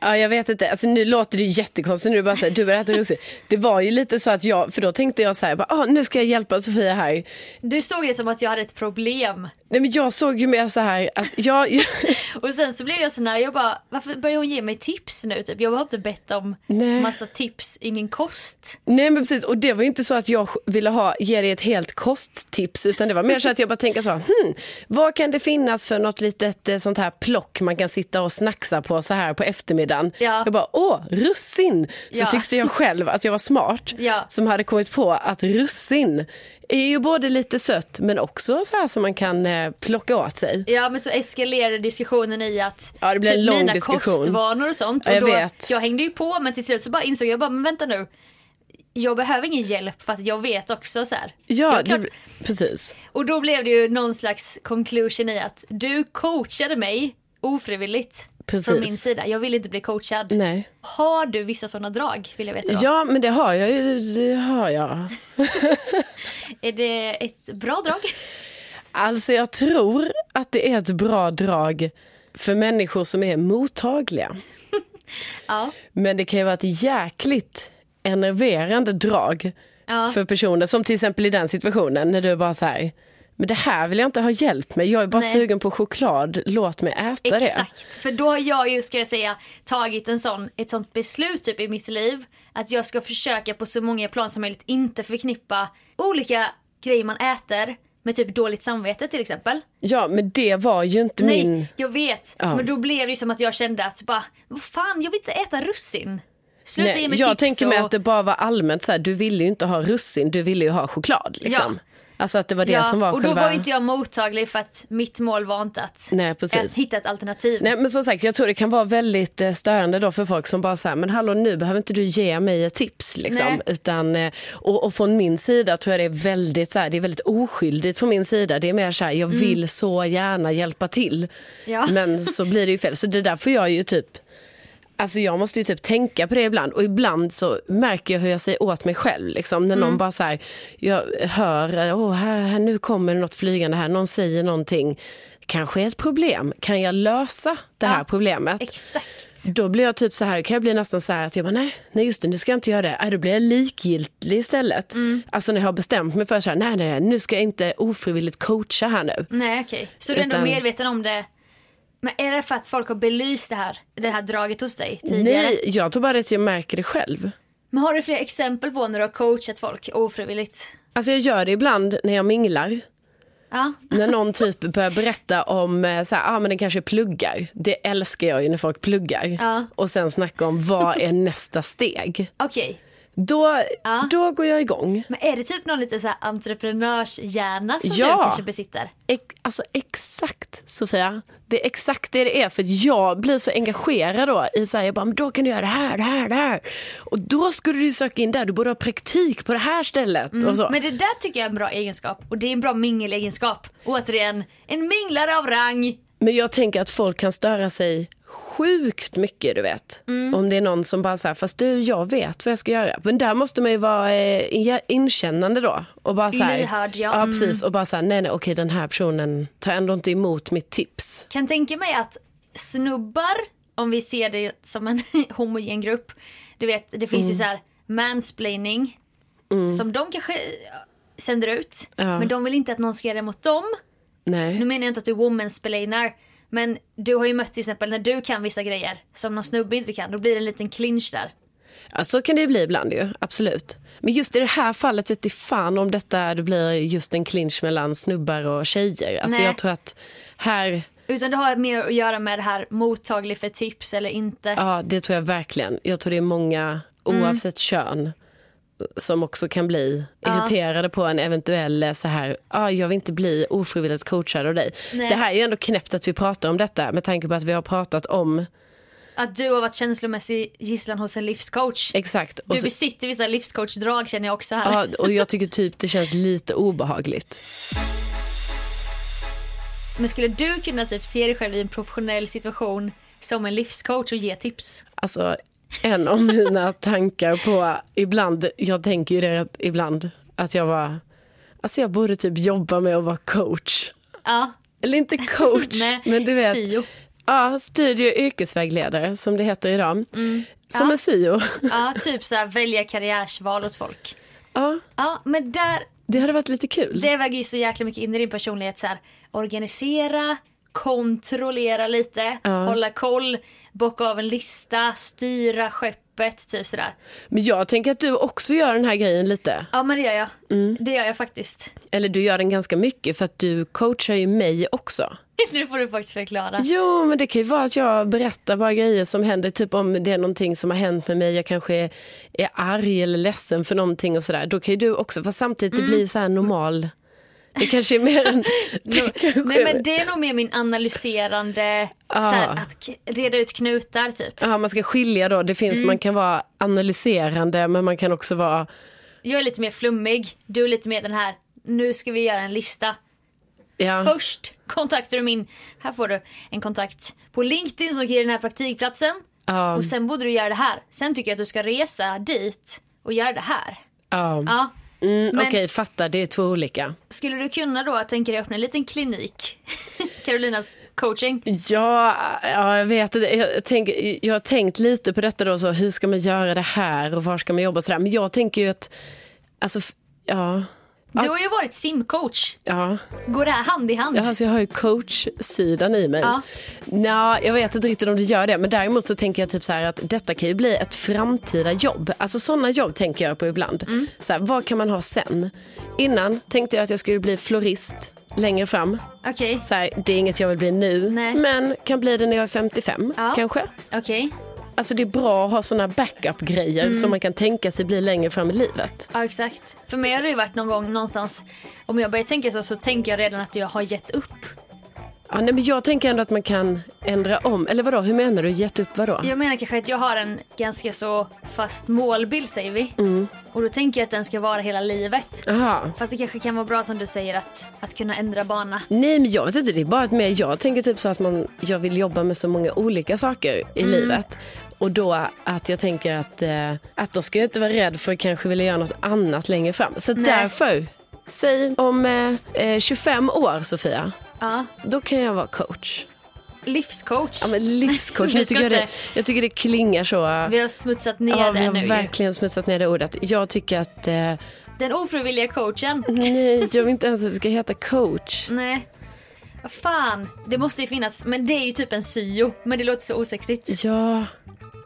[SPEAKER 1] Ja, jag vet inte. Alltså, nu låter det ju jättekonstigt. Nu är det bara så här, du börjar äta russin. Det var ju lite så att jag, för då tänkte jag så här, bara, ah, nu ska jag hjälpa Sofia här.
[SPEAKER 2] Du såg det som att jag hade ett problem.
[SPEAKER 1] Nej, men jag såg ju mer så här att jag...
[SPEAKER 2] Och sen så blev jag sån här, jag bara, varför börjar hon ge mig tips nu? Typ? Jag har inte bett om
[SPEAKER 1] Nej.
[SPEAKER 2] massa tips i min kost.
[SPEAKER 1] Nej men precis, och det var ju inte så att jag ville ha, ge dig ett helt kosttips utan det var mer så att jag bara tänkte så, hmm, vad kan det finnas för något litet eh, sånt här plock man kan sitta och snacksa på så här på eftermiddagen.
[SPEAKER 2] Ja.
[SPEAKER 1] Jag bara, åh, russin! Så
[SPEAKER 2] Ja.
[SPEAKER 1] tyckte jag själv att jag var smart
[SPEAKER 2] Ja.
[SPEAKER 1] som hade kommit på att russin är ju både lite sött men också så här som man kan eh, plocka åt sig.
[SPEAKER 2] Ja men så eskalerade diskussionen i att typ
[SPEAKER 1] Ja, det blev en lång
[SPEAKER 2] mina
[SPEAKER 1] diskussion.
[SPEAKER 2] kostvanor och sånt.
[SPEAKER 1] Ja, jag
[SPEAKER 2] och då,
[SPEAKER 1] vet.
[SPEAKER 2] jag hängde ju på men till slut så bara insåg jag bara, men vänta nu. Jag behöver ingen hjälp för att jag vet också så här.
[SPEAKER 1] Ja,
[SPEAKER 2] Jag kan-
[SPEAKER 1] det, precis.
[SPEAKER 2] Och då blev det ju någon slags conclusion i att du coachade mig ofrivilligt
[SPEAKER 1] Precis.
[SPEAKER 2] från min sida. Jag vill inte bli coachad.
[SPEAKER 1] Nej.
[SPEAKER 2] Har du vissa sådana drag vill jag veta då?
[SPEAKER 1] Ja, men det har jag ju. Det har jag.
[SPEAKER 2] Är det ett bra drag?
[SPEAKER 1] Alltså jag tror att det är ett bra drag för människor som är mottagliga.
[SPEAKER 2] Ja.
[SPEAKER 1] Men det kan ju vara ett jäkligt enerverande drag
[SPEAKER 2] Ja.
[SPEAKER 1] för personer. Som till exempel i den situationen när du är bara så här. Men det här vill jag inte ha hjälp med. Jag är bara
[SPEAKER 2] Nej.
[SPEAKER 1] sugen på choklad. Låt mig äta det.
[SPEAKER 2] Exakt, för då har jag ju ska jag säga tagit en sån, ett sånt beslut typ i mitt liv att jag ska försöka på så många plan som möjligt inte förknippa olika grejer man äter med typ dåligt samvete till exempel.
[SPEAKER 1] Ja, men det var ju inte min...
[SPEAKER 2] Nej, jag vet.
[SPEAKER 1] Ja.
[SPEAKER 2] Men då blev det ju som att jag kände att bara, vad fan, jag vill inte äta russin. Sluta ge
[SPEAKER 1] Nej,
[SPEAKER 2] mig
[SPEAKER 1] jag
[SPEAKER 2] tips
[SPEAKER 1] tänker mig
[SPEAKER 2] och...
[SPEAKER 1] att det bara var allmänt så här, du ville ju inte ha russin, du ville ju ha choklad. Liksom. Alltså att det var det
[SPEAKER 2] ja,
[SPEAKER 1] som var
[SPEAKER 2] och då
[SPEAKER 1] själva...
[SPEAKER 2] var ju inte jag mottaglig för att mitt mål var inte att,
[SPEAKER 1] Nej, precis.
[SPEAKER 2] att hitta ett alternativ.
[SPEAKER 1] Nej men som sagt jag tror det kan vara väldigt eh, störande då för folk som bara säger men hallå nu behöver inte du ge mig ett tips liksom.
[SPEAKER 2] Nej.
[SPEAKER 1] Utan, eh, och, och från min sida tror jag det är väldigt så här, det är väldigt oskyldigt från min sida. Det är mer så här jag vill så gärna hjälpa till.
[SPEAKER 2] Ja.
[SPEAKER 1] Men så blir det ju fel. Så det där får jag ju typ Alltså jag måste ju typ tänka på det ibland och ibland så märker jag hur jag säger åt mig själv. Liksom. När
[SPEAKER 2] Mm.
[SPEAKER 1] någon bara så här, jag hör, åh här, här, nu kommer något flygande här, någon säger någonting, kanske är ett problem, kan jag lösa det här
[SPEAKER 2] Ja,
[SPEAKER 1] problemet?
[SPEAKER 2] Exakt.
[SPEAKER 1] Då blir jag typ så här, kan jag bli nästan så här att jag bara nej, nej just det, nu ska jag inte göra det. Äh, då blir jag likgiltig istället.
[SPEAKER 2] Mm.
[SPEAKER 1] Alltså när jag har bestämt mig för så här, nej nej, nej nu ska jag inte ofrivilligt coacha här nu.
[SPEAKER 2] Nej okej. Så du är
[SPEAKER 1] Utan-
[SPEAKER 2] ändå medveten om det. Men är det för att folk har belyst det här, det här draget hos dig tidigare?
[SPEAKER 1] Nej, jag tror bara att jag märker det själv.
[SPEAKER 2] Men har du fler exempel på när du har coachat folk ofrivilligt?
[SPEAKER 1] Alltså jag gör det ibland när jag minglar.
[SPEAKER 2] Ja.
[SPEAKER 1] När någon typ börjar berätta om eh, så här, ah, men den kanske pluggar. Det älskar jag ju när folk pluggar.
[SPEAKER 2] Ja.
[SPEAKER 1] Och sen snacka om vad är nästa steg.
[SPEAKER 2] Okej.
[SPEAKER 1] Då,
[SPEAKER 2] Ja.
[SPEAKER 1] då går jag igång.
[SPEAKER 2] Men är det typ någon liten så här entreprenörshjärna som
[SPEAKER 1] Ja.
[SPEAKER 2] du kanske besitter?
[SPEAKER 1] Ex- alltså exakt Sofia. Det är exakt det det är. För att jag blir så engagerad då. I så här, jag bara, men då kan du göra det här, det här, det här. Och då skulle du ju söka in där. Du borde ha praktik på det här stället. Och så.
[SPEAKER 2] Men det där tycker jag är en bra egenskap och det är en bra mingelegenskap. Återigen, en minglare av rang.
[SPEAKER 1] Men jag tänker att folk kan störa sig sjukt mycket, du vet.
[SPEAKER 2] Mm.
[SPEAKER 1] Om det är någon som bara säger, fast du, jag vet vad jag ska göra. Men där måste man ju vara eh, in- inkännande då. Och bara så här,
[SPEAKER 2] Lyhörd, ja.
[SPEAKER 1] Ja,
[SPEAKER 2] Mm.
[SPEAKER 1] precis. Och bara så här, nej, nej, okej, den här personen tar ändå inte emot mitt tips.
[SPEAKER 2] Kan tänka mig att snubbar, om vi ser det som en homogen grupp, du vet det
[SPEAKER 1] Mm.
[SPEAKER 2] finns ju så här mansplaining som de kanske eh, sänder ut.
[SPEAKER 1] Ja.
[SPEAKER 2] Men de vill inte att någon ska göra det mot dem. Nu
[SPEAKER 1] Nej.
[SPEAKER 2] menar jag inte att du womansplainar. Men du har ju mött till exempel när du kan vissa grejer som någon snubbe inte kan. Då blir det en liten clinch där.
[SPEAKER 1] Ja, så kan det ju bli ibland ju, absolut. Men just i det här fallet vet jag fan om detta det blir just en clinch mellan snubbar och tjejer. Alltså
[SPEAKER 2] Nej.
[SPEAKER 1] jag tror att här,
[SPEAKER 2] Utan det har mer att göra med det här mottaglig för tips eller inte.
[SPEAKER 1] Ja, det tror jag verkligen. Jag tror det är många,
[SPEAKER 2] Mm.
[SPEAKER 1] oavsett kön, som också kan bli irriterade på en eventuell eh, så här, ah, jag vill inte bli ofrivilligt coachad av dig.
[SPEAKER 2] Nej.
[SPEAKER 1] Det här är ju ändå knäppt att vi pratar om detta med tanke på att vi har pratat om,
[SPEAKER 2] Att du har varit känslomässig gisslan hos en livscoach.
[SPEAKER 1] exakt. Och,
[SPEAKER 2] Du
[SPEAKER 1] så,
[SPEAKER 2] besitter vissa livscoachdrag känner jag också här.
[SPEAKER 1] ja, och jag tycker typ det känns lite obehagligt.
[SPEAKER 2] Men skulle du kunna typ se dig själv i en professionell situation som en livscoach och ge tips?
[SPEAKER 1] Alltså, en av mina tankar på, ibland, jag tänker ju det att ibland, att jag var, alltså jag borde typ jobba med att vara coach.
[SPEAKER 2] Ja.
[SPEAKER 1] Eller inte coach,
[SPEAKER 2] Nej,
[SPEAKER 1] men du vet.
[SPEAKER 2] syo.
[SPEAKER 1] Ja, studie och yrkesvägledare som det heter idag. Som
[SPEAKER 2] Mm. Ja.
[SPEAKER 1] är syo.
[SPEAKER 2] Ja, typ så här, välja karriärsval åt folk.
[SPEAKER 1] Ja,
[SPEAKER 2] Ja, men där,
[SPEAKER 1] det hade varit lite kul.
[SPEAKER 2] det väger ju så jäkla mycket in i din personlighet. Så här, organisera, kontrollera lite, hålla koll, bocka av en lista, styra skeppet, typ sådär.
[SPEAKER 1] Men jag tänker att du också gör den här grejen lite.
[SPEAKER 2] Ja men det gör jag.
[SPEAKER 1] Mm.
[SPEAKER 2] Det gör jag faktiskt.
[SPEAKER 1] Eller du gör den ganska mycket för att du coachar ju mig också.
[SPEAKER 2] Nu får du faktiskt förklara.
[SPEAKER 1] Jo, men det kan ju vara att jag berättar bara grejer som händer. Typ om det är någonting som har hänt med mig. Jag kanske är, är arg eller ledsen för någonting och sådär. Då kan ju du också, fast samtidigt det blir ju så här normal. Det kanske är mer en... det kanske
[SPEAKER 2] Mm. Nej
[SPEAKER 1] är-
[SPEAKER 2] men det är nog mer min analyserande,
[SPEAKER 1] Ah.
[SPEAKER 2] så här, att k- reda ut knutar typ.
[SPEAKER 1] Ja, man ska skilja då. Det finns, man kan vara analyserande men man kan också vara...
[SPEAKER 2] Jag är lite mer flummig, du är lite mer den här, nu ska vi göra en lista.
[SPEAKER 1] Ja.
[SPEAKER 2] Först kontaktar du min, här får du en kontakt på LinkedIn som ger den här praktikplatsen.
[SPEAKER 1] Ja.
[SPEAKER 2] Och sen borde du göra det här. Sen tycker jag att du ska resa dit och göra det här.
[SPEAKER 1] ja.
[SPEAKER 2] Ja.
[SPEAKER 1] Mm,
[SPEAKER 2] men-
[SPEAKER 1] Okej, fatta. Det är två olika.
[SPEAKER 2] Skulle du kunna då tänka dig öppna en liten klinik? Carolinas coaching.
[SPEAKER 1] Ja, ja jag vet det. Jag, tänk, jag har tänkt lite på detta då, så hur ska man göra det här och var ska man jobba och sådär. Men jag tänker ju att, alltså, f- ja,
[SPEAKER 2] Du har ju varit simcoach.
[SPEAKER 1] ja.
[SPEAKER 2] Går det här hand i hand?
[SPEAKER 1] Ja, Alltså jag har ju coachsidan i mig.
[SPEAKER 2] Ja.
[SPEAKER 1] Nja, jag vet inte riktigt om det gör det. Men däremot så tänker jag typ så här att detta kan ju bli ett framtida jobb. Alltså sådana jobb tänker jag på ibland.
[SPEAKER 2] Mm.
[SPEAKER 1] Så här, vad kan man ha sen? Innan tänkte jag att jag skulle bli florist längre fram.
[SPEAKER 2] Okej.
[SPEAKER 1] Så här, det är inget jag vill bli nu,
[SPEAKER 2] Nej.
[SPEAKER 1] men kan bli det när jag är 55
[SPEAKER 2] Ja.
[SPEAKER 1] kanske.
[SPEAKER 2] Okej.
[SPEAKER 1] Alltså det är bra att ha sådana backup-grejer
[SPEAKER 2] Mm.
[SPEAKER 1] som man kan tänka sig bli längre fram i livet.
[SPEAKER 2] Ja exakt. För mig har det ju varit någon gång någonstans. Om jag börjar tänka så så tänker jag redan att jag har gett upp.
[SPEAKER 1] Ja, nej, men jag tänker ändå att man kan ändra om. Eller vadå, hur menar du? Gett upp vadå?
[SPEAKER 2] Jag menar kanske att jag har en ganska så fast målbild säger vi.
[SPEAKER 1] Mm.
[SPEAKER 2] Och då tänker jag att den ska vara hela livet.
[SPEAKER 1] Jaha.
[SPEAKER 2] Fast det kanske kan vara bra som du säger att, att kunna ändra bana.
[SPEAKER 1] Nej men jag vet inte, det är bara att med, jag tänker typ så att man, jag vill jobba med så många olika saker i
[SPEAKER 2] Mm.
[SPEAKER 1] livet. Och då att jag tänker att, eh, att då ska jag inte vara rädd för att kanske vilja göra något annat längre fram. Så
[SPEAKER 2] Nej.
[SPEAKER 1] därför, säg om eh, eh, 25 år Sofia,
[SPEAKER 2] Ja.
[SPEAKER 1] då kan jag vara coach.
[SPEAKER 2] Livscoach.
[SPEAKER 1] Ja men livscoach,
[SPEAKER 2] Vi
[SPEAKER 1] jag
[SPEAKER 2] ska
[SPEAKER 1] tycker, det,
[SPEAKER 2] inte-
[SPEAKER 1] jag tycker det klingar så.
[SPEAKER 2] Vi har smutsat ner
[SPEAKER 1] Ja, vi
[SPEAKER 2] det
[SPEAKER 1] har
[SPEAKER 2] nu ju.
[SPEAKER 1] verkligen smutsat ner det ordet. Jag tycker att, eh,
[SPEAKER 2] Den ofrivilliga coachen.
[SPEAKER 1] Mm. nej jag vill inte ens att det ska heta coach.
[SPEAKER 2] Nej. Vad fan. Det måste ju finnas. Men det är ju typ en syo. Men det låter så osexigt.
[SPEAKER 1] Ja,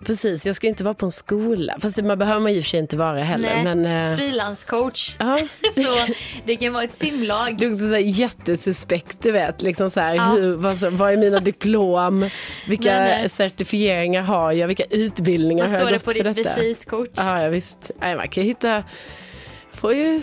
[SPEAKER 1] precis. Jag ska ju inte vara på en skola. Fast det- man behöver man ju i och för sig inte vara heller. Men, eh,
[SPEAKER 2] Frilanscoach.
[SPEAKER 1] ja.
[SPEAKER 2] Så det kan vara ett simlag.
[SPEAKER 1] Det är också så här jättesuspekt, du vet. Liksom så här,
[SPEAKER 2] Ja.
[SPEAKER 1] hur, vad, så- vad är mina diplom? Vilka
[SPEAKER 2] Nej, nej.
[SPEAKER 1] certifieringar har jag? Vilka utbildningar
[SPEAKER 2] Vad
[SPEAKER 1] har jag
[SPEAKER 2] står det
[SPEAKER 1] gått
[SPEAKER 2] på
[SPEAKER 1] för
[SPEAKER 2] ditt
[SPEAKER 1] detta?
[SPEAKER 2] visitkort?
[SPEAKER 1] Ja, ja, visst. Nej, man kan ju hitta... Får ju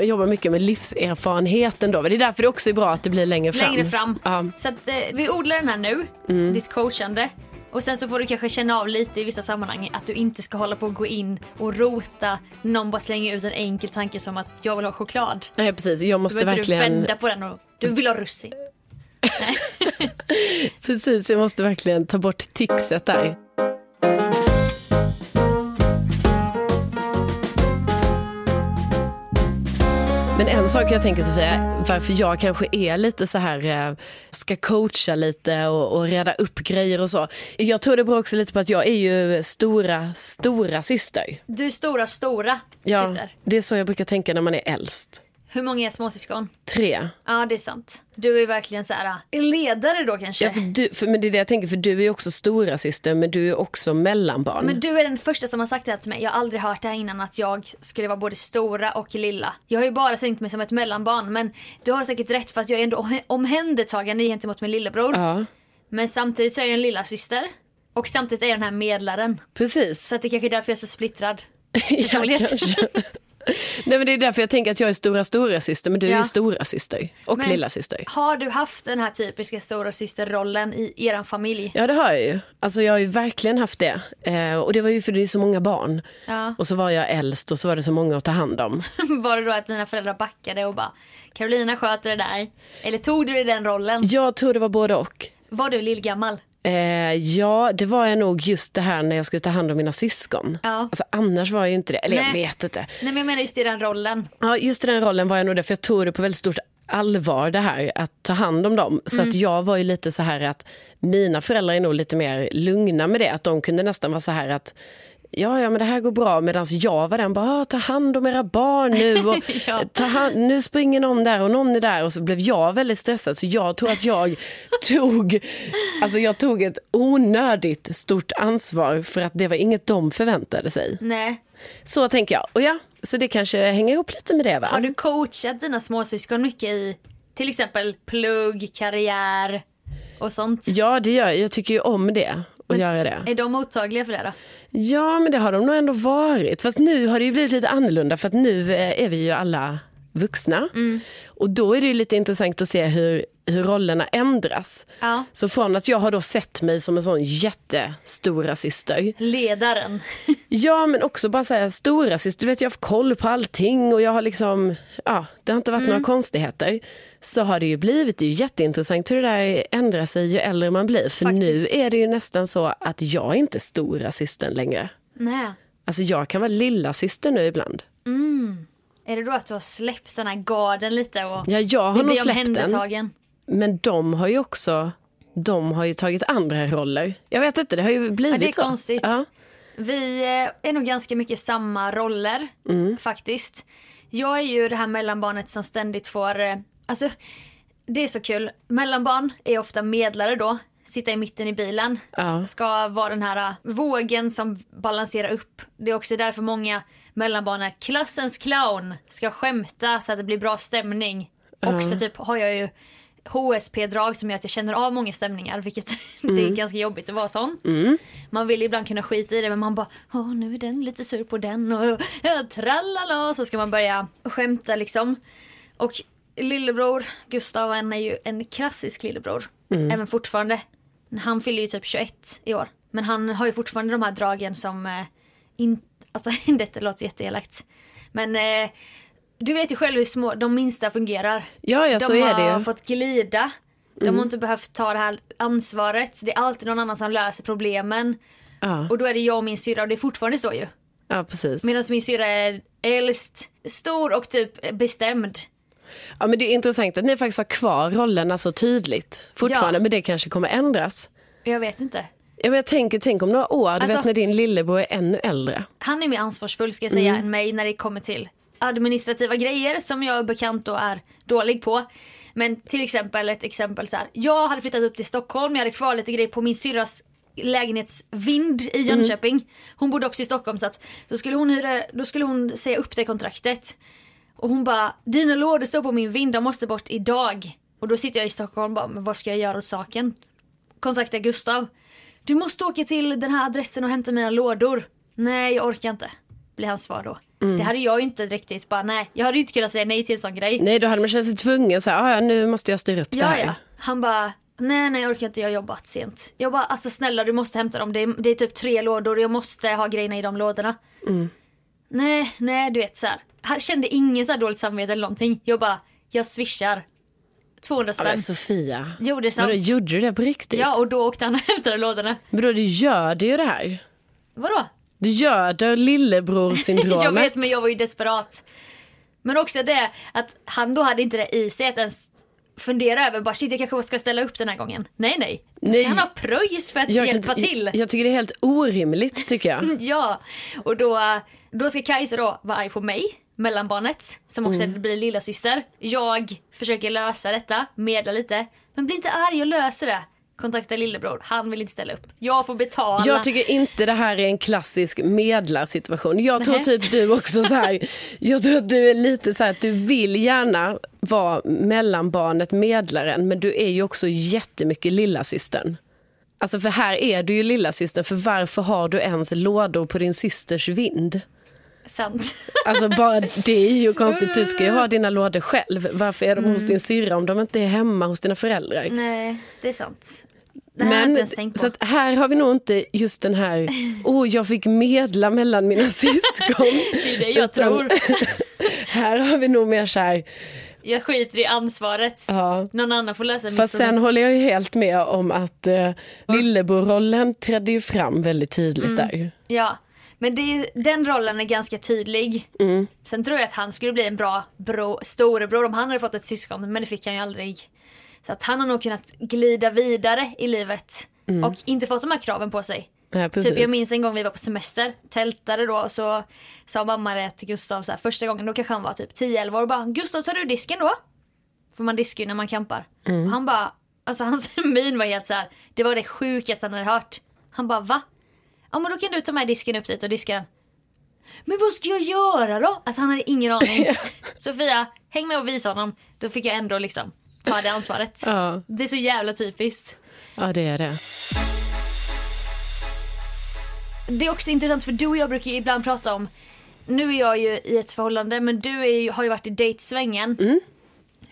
[SPEAKER 1] jobba mycket med livserfarenheten då. Men det är därför det också är bra att det blir längre fram.
[SPEAKER 2] Längre fram.
[SPEAKER 1] Ja.
[SPEAKER 2] Så att eh, vi odlar den här nu.
[SPEAKER 1] Mm.
[SPEAKER 2] Ditt coachande. Och sen så får du kanske känna av lite i vissa sammanhang att du inte ska hålla på och gå in och rota. Någon bara slänger ut en enkel tanke som att jag vill ha choklad.
[SPEAKER 1] Nej, precis. Jag
[SPEAKER 2] Då
[SPEAKER 1] måste
[SPEAKER 2] behöver
[SPEAKER 1] verkligen...
[SPEAKER 2] du vända på den och du vill ha russin.
[SPEAKER 1] Precis, jag måste verkligen ta bort tixet där. Men en sak jag tänker Sofia, varför jag kanske är lite så här, eh, ska coacha lite och, och reda upp grejer och så. Jag tror det beror också lite på att jag är ju stora, stora syster.
[SPEAKER 2] Du är stora, stora
[SPEAKER 1] Ja,
[SPEAKER 2] syster.
[SPEAKER 1] Det är så jag brukar tänka när man är äldst.
[SPEAKER 2] Hur många är småsyskon?
[SPEAKER 1] Tre.
[SPEAKER 2] Ja, det är sant. Du är verkligen så här äh, ledare då kanske.
[SPEAKER 1] Ja, för du, för, men det är det jag tänker, för du är ju också stora syster men du är också mellanbarn.
[SPEAKER 2] Men du är den första som har sagt det här till mig. Jag har aldrig hört det här innan att jag skulle vara både stora och lilla. Jag har ju bara tänkt mig som ett mellanbarn men du har säkert rätt för att jag är ändå omh- omhändertagande gentemot min lillebror.
[SPEAKER 1] Ja,
[SPEAKER 2] Men samtidigt så är jag en lilla syster och samtidigt är jag den här medlaren.
[SPEAKER 1] precis.
[SPEAKER 2] Så att det kanske är därför jag är så splittrad.
[SPEAKER 1] Ja,
[SPEAKER 2] personlighet.
[SPEAKER 1] kanske. Nej, men det är därför jag tänker att jag är stora stora syster men du är
[SPEAKER 2] Ja.
[SPEAKER 1] ju stora syster och
[SPEAKER 2] Men-
[SPEAKER 1] lilla syster.
[SPEAKER 2] Har du haft den här typiska stora systerrollen i eran familj?
[SPEAKER 1] Ja det har jag ju. Alltså jag har ju verkligen haft det. Eh, och det var ju för det är så många barn.
[SPEAKER 2] Ja.
[SPEAKER 1] Och så var jag äldst och så var det så många att ta hand om.
[SPEAKER 2] Var det då att dina föräldrar backade och bara Carolina sköter det där? Eller tog du dig den rollen?
[SPEAKER 1] Jag tror det var både och.
[SPEAKER 2] Var du lillgammal?
[SPEAKER 1] Eh, ja, det var jag nog just det här när jag skulle ta hand om mina syskon.
[SPEAKER 2] Ja.
[SPEAKER 1] Alltså, annars var jag ju inte det. Eller jag
[SPEAKER 2] Nej.
[SPEAKER 1] vet inte.
[SPEAKER 2] Nej men jag menar just i den rollen.
[SPEAKER 1] Ja, just i den rollen var jag nog det, för jag tog det på väldigt stort allvar det här att ta hand om dem. Så att jag var ju lite så här att mina föräldrar är nog lite mer lugna med det. Att de kunde nästan vara så här att Ja, ja, men det här går bra. Medan jag var den bara, "Ah, ta hand om era barn nu. Och
[SPEAKER 2] Ja.
[SPEAKER 1] ta hand, nu springer någon där och någon är där. Och så blev jag väldigt stressad. Så jag tror att jag tog, alltså jag tog ett onödigt stort ansvar. För att det var inget de förväntade sig.
[SPEAKER 2] Nej.
[SPEAKER 1] Så tänker jag. Och ja, så det kanske hänger ihop lite med det va?
[SPEAKER 2] Har du coachat dina småsyskon mycket i till exempel plugg, karriär och sånt?
[SPEAKER 1] Ja, det gör jag. Jag tycker ju om det. Och göra det.
[SPEAKER 2] Är de mottagliga för det då?
[SPEAKER 1] Ja, men det har de nog ändå varit. Fast nu har det ju blivit lite annorlunda för att nu eh, är vi ju alla vuxna. Och då är det ju lite intressant att se hur, hur rollerna ändras.
[SPEAKER 2] Ja.
[SPEAKER 1] Så från att jag har då sett mig som en sån jättestora syster.
[SPEAKER 2] Ledaren.
[SPEAKER 1] Ja, men också bara säga stora syster. Du vet, jag har haft koll på allting och jag har liksom, ja, det har inte varit
[SPEAKER 2] Mm.
[SPEAKER 1] några konstigheter. Så har det ju blivit, det är ju jätteintressant hur det där ändrar sig ju äldre man blir. För
[SPEAKER 2] Faktiskt.
[SPEAKER 1] nu är det ju nästan så att jag är inte stora systern längre.
[SPEAKER 2] Nej.
[SPEAKER 1] Alltså jag kan vara lilla syster nu ibland.
[SPEAKER 2] Är det då att du har släppt den här garden lite och
[SPEAKER 1] Ja, jag har
[SPEAKER 2] vill
[SPEAKER 1] nog
[SPEAKER 2] bli
[SPEAKER 1] släppt den.
[SPEAKER 2] omhändertagen?
[SPEAKER 1] Men de har ju också, de har ju tagit andra roller. Jag vet inte, det har ju blivit
[SPEAKER 2] Ja, det är
[SPEAKER 1] så.
[SPEAKER 2] konstigt.
[SPEAKER 1] Ja.
[SPEAKER 2] Vi eh, är nog ganska mycket samma roller
[SPEAKER 1] Mm.
[SPEAKER 2] faktiskt. Jag är ju det här mellanbarnet som ständigt får, eh, alltså det är så kul. Mellanbarn är ofta medlare då, sitta i mitten i bilen.
[SPEAKER 1] Ja.
[SPEAKER 2] Ska vara den här eh, vågen som balanserar upp. Det är också därför många mellanbarn är klassens clown, ska skämta så att det blir bra stämning. Också typ har jag ju HSP-drag som gör att jag känner av många stämningar vilket det är ganska jobbigt att vara sån. Man vill ibland kunna skita i det men man bara Åh nu är den lite sur på den och ja, tralala så ska man börja skämta liksom. Och lillebror Gustav han är ju en klassisk lillebror.
[SPEAKER 1] Mm.
[SPEAKER 2] Även fortfarande. Han fyller ju typ 21 i år. Men han har ju fortfarande de här dragen som eh, in, Alltså detta låter jätteelakt. Men eh, du vet ju själv hur små de minsta fungerar.
[SPEAKER 1] Ja, ja,
[SPEAKER 2] De
[SPEAKER 1] så är
[SPEAKER 2] har
[SPEAKER 1] det ju. Mm.
[SPEAKER 2] fått glida. De har inte behövt ta det här ansvaret. Det är alltid någon annan som löser problemen.
[SPEAKER 1] Ja,
[SPEAKER 2] Och då är det jag och min syrra och det är fortfarande så ju.
[SPEAKER 1] ja, precis.
[SPEAKER 2] Medan min syrra är äldst, stor och typ bestämd.
[SPEAKER 1] Ja, men det är intressant att ni faktiskt har kvar rollerna så tydligt fortfarande,
[SPEAKER 2] Ja.
[SPEAKER 1] men det kanske kommer ändras.
[SPEAKER 2] Jag vet inte.
[SPEAKER 1] Ja, men jag tänker, tänk om några år, du
[SPEAKER 2] Alltså-
[SPEAKER 1] vet när din lillebror är ännu äldre.
[SPEAKER 2] Han är mer ansvarsfull ska jag säga än mig när det kommer till administrativa grejer som jag bekant då är dålig på. Men till exempel ett exempel så här. Jag hade flyttat upp till Stockholm, jag hade kvar lite grejer på min syrras lägenhetsvind i Jönköping. Hon bodde också i Stockholm så att då skulle hon, hyra, då skulle hon säga upp det kontraktet. Och hon bara, dina lådor står på min vind, de måste bort idag. Och då sitter jag i Stockholm och bara, men vad ska jag göra åt saken? kontaktar Gustav. Du måste åka till den här adressen och hämta mina lådor. Nej, jag orkar inte. Blir hans svar då. Det hade jag ju inte riktigt bara nej. Jag hade ju inte kunnat säga nej till en sån grej.
[SPEAKER 1] Nej, då hade man känt sig tvungen, så här, "Ah, ja, nu måste jag styra upp det
[SPEAKER 2] Ja,
[SPEAKER 1] här.
[SPEAKER 2] ja. Han bara nej, nej, jag orkar inte. Jag har jobbat sent. Jag bara alltså snälla du måste hämta dem. Det är, det är typ tre lådor. Jag måste ha grejerna i de lådorna.
[SPEAKER 1] Mm.
[SPEAKER 2] Nej, nej, du vet så här. Han kände ingen så här dåligt samvete eller någonting. Jag bara jag swishar. 200
[SPEAKER 1] Ja,
[SPEAKER 2] spänn.
[SPEAKER 1] men Sofia,
[SPEAKER 2] Jo, det är sant.
[SPEAKER 1] Alltså, vadå, gjorde du det på riktigt?
[SPEAKER 2] Ja, och då åkte han och hämtade lådorna.
[SPEAKER 1] Men då, du gör det ju det här.
[SPEAKER 2] Vadå?
[SPEAKER 1] Du göder lillebror-syndromet.
[SPEAKER 2] Jag vet men jag var ju desperat. Men också det att han då hade inte det i sig att ens fundera över bara shit jag kanske ska ställa upp den här gången. Nej nej. Då ska
[SPEAKER 1] Nej.
[SPEAKER 2] han ha pröjs för att
[SPEAKER 1] Jag kan
[SPEAKER 2] hjälpa
[SPEAKER 1] inte-
[SPEAKER 2] till.
[SPEAKER 1] Jag, jag tycker det är helt orimligt tycker jag.
[SPEAKER 2] Ja. Och då, då ska Kajsa då vara arg på mig, mellanbarnet som också
[SPEAKER 1] Mm.
[SPEAKER 2] blir lilla syster. Jag försöker lösa detta, medla lite. Men bli inte arg, jag löser det. Kontakta lillebror, han vill inte ställa upp. Jag får betala.
[SPEAKER 1] Jag tycker inte det här är en klassisk medlarsituation. Jag tror
[SPEAKER 2] Nähä.
[SPEAKER 1] typ du också så här, jag tror att du är lite så här att du vill gärna vara mellanbarnet, medlaren, men du är ju också jättemycket lillasystern. Alltså för här är du ju lillasystern, för varför har du ens lådor på din systers vind?
[SPEAKER 2] Sant.
[SPEAKER 1] Alltså bara det är ju konstigt, du ska ju ha dina lådor själv. Varför är de hos din syrra om de inte är hemma hos dina föräldrar?
[SPEAKER 2] nej, det är sant. Det här har jag inte ens tänkt på.
[SPEAKER 1] så att här har vi nog inte just den här, oh jag fick medla mellan mina syskon.
[SPEAKER 2] Det är det jag
[SPEAKER 1] Utan-
[SPEAKER 2] tror.
[SPEAKER 1] här har vi nog mer så här,
[SPEAKER 2] Jag skiter i ansvaret.
[SPEAKER 1] ja.
[SPEAKER 2] Någon annan får lösa mitt
[SPEAKER 1] Fast
[SPEAKER 2] problem.
[SPEAKER 1] sen håller jag ju helt med
[SPEAKER 2] Mm.
[SPEAKER 1] om att eh, lillebrorrollen trädde ju fram väldigt tydligt där.
[SPEAKER 2] Ja. Men det, den rollen är ganska tydlig. Sen tror jag att han skulle bli en bra bro, storebror om han hade fått ett syskon, men det fick han ju aldrig. Så att han har nog kunnat glida vidare i livet och inte fått de här kraven på sig.
[SPEAKER 1] Ja, precis.
[SPEAKER 2] Typ jag minns en gång vi var på semester, tältade då och så sa mamma det till Gustav så här, första gången, då kanske han var typ 10-11 år och bara Gustav tar du disken då? För man diskar ju när man kampar.
[SPEAKER 1] Mm.
[SPEAKER 2] Och han bara, alltså hans min var helt så här, det var det sjukaste han hade hört. Han bara va? Ja men då kan du ta med disken upp dit och diska den. Men vad ska jag göra då? Alltså han hade ingen aning. Sofia, häng med och visa honom. Då fick jag ändå liksom ta det ansvaret.
[SPEAKER 1] Ja.
[SPEAKER 2] Det är så jävla typiskt.
[SPEAKER 1] ja, det är det.
[SPEAKER 2] Det är också intressant för du och jag brukar ju ibland prata om, nu är jag ju i ett förhållande men du är ju, har ju varit i dejtsvängen.
[SPEAKER 1] Mm.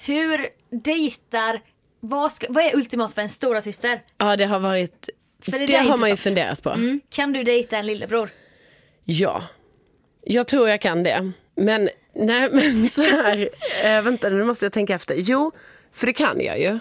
[SPEAKER 2] Hur dejtar, vad, ska, vad är ultimat för en stora syster?
[SPEAKER 1] Ja, det har varit...
[SPEAKER 2] För
[SPEAKER 1] det
[SPEAKER 2] det där är
[SPEAKER 1] har man ju
[SPEAKER 2] intressant.
[SPEAKER 1] funderat på.
[SPEAKER 2] Mm. Kan du dejta en lillebror?
[SPEAKER 1] Ja, jag tror jag kan det. Men nej, men så här. eh, vänta, nu måste jag tänka efter. Jo, för det kan jag ju.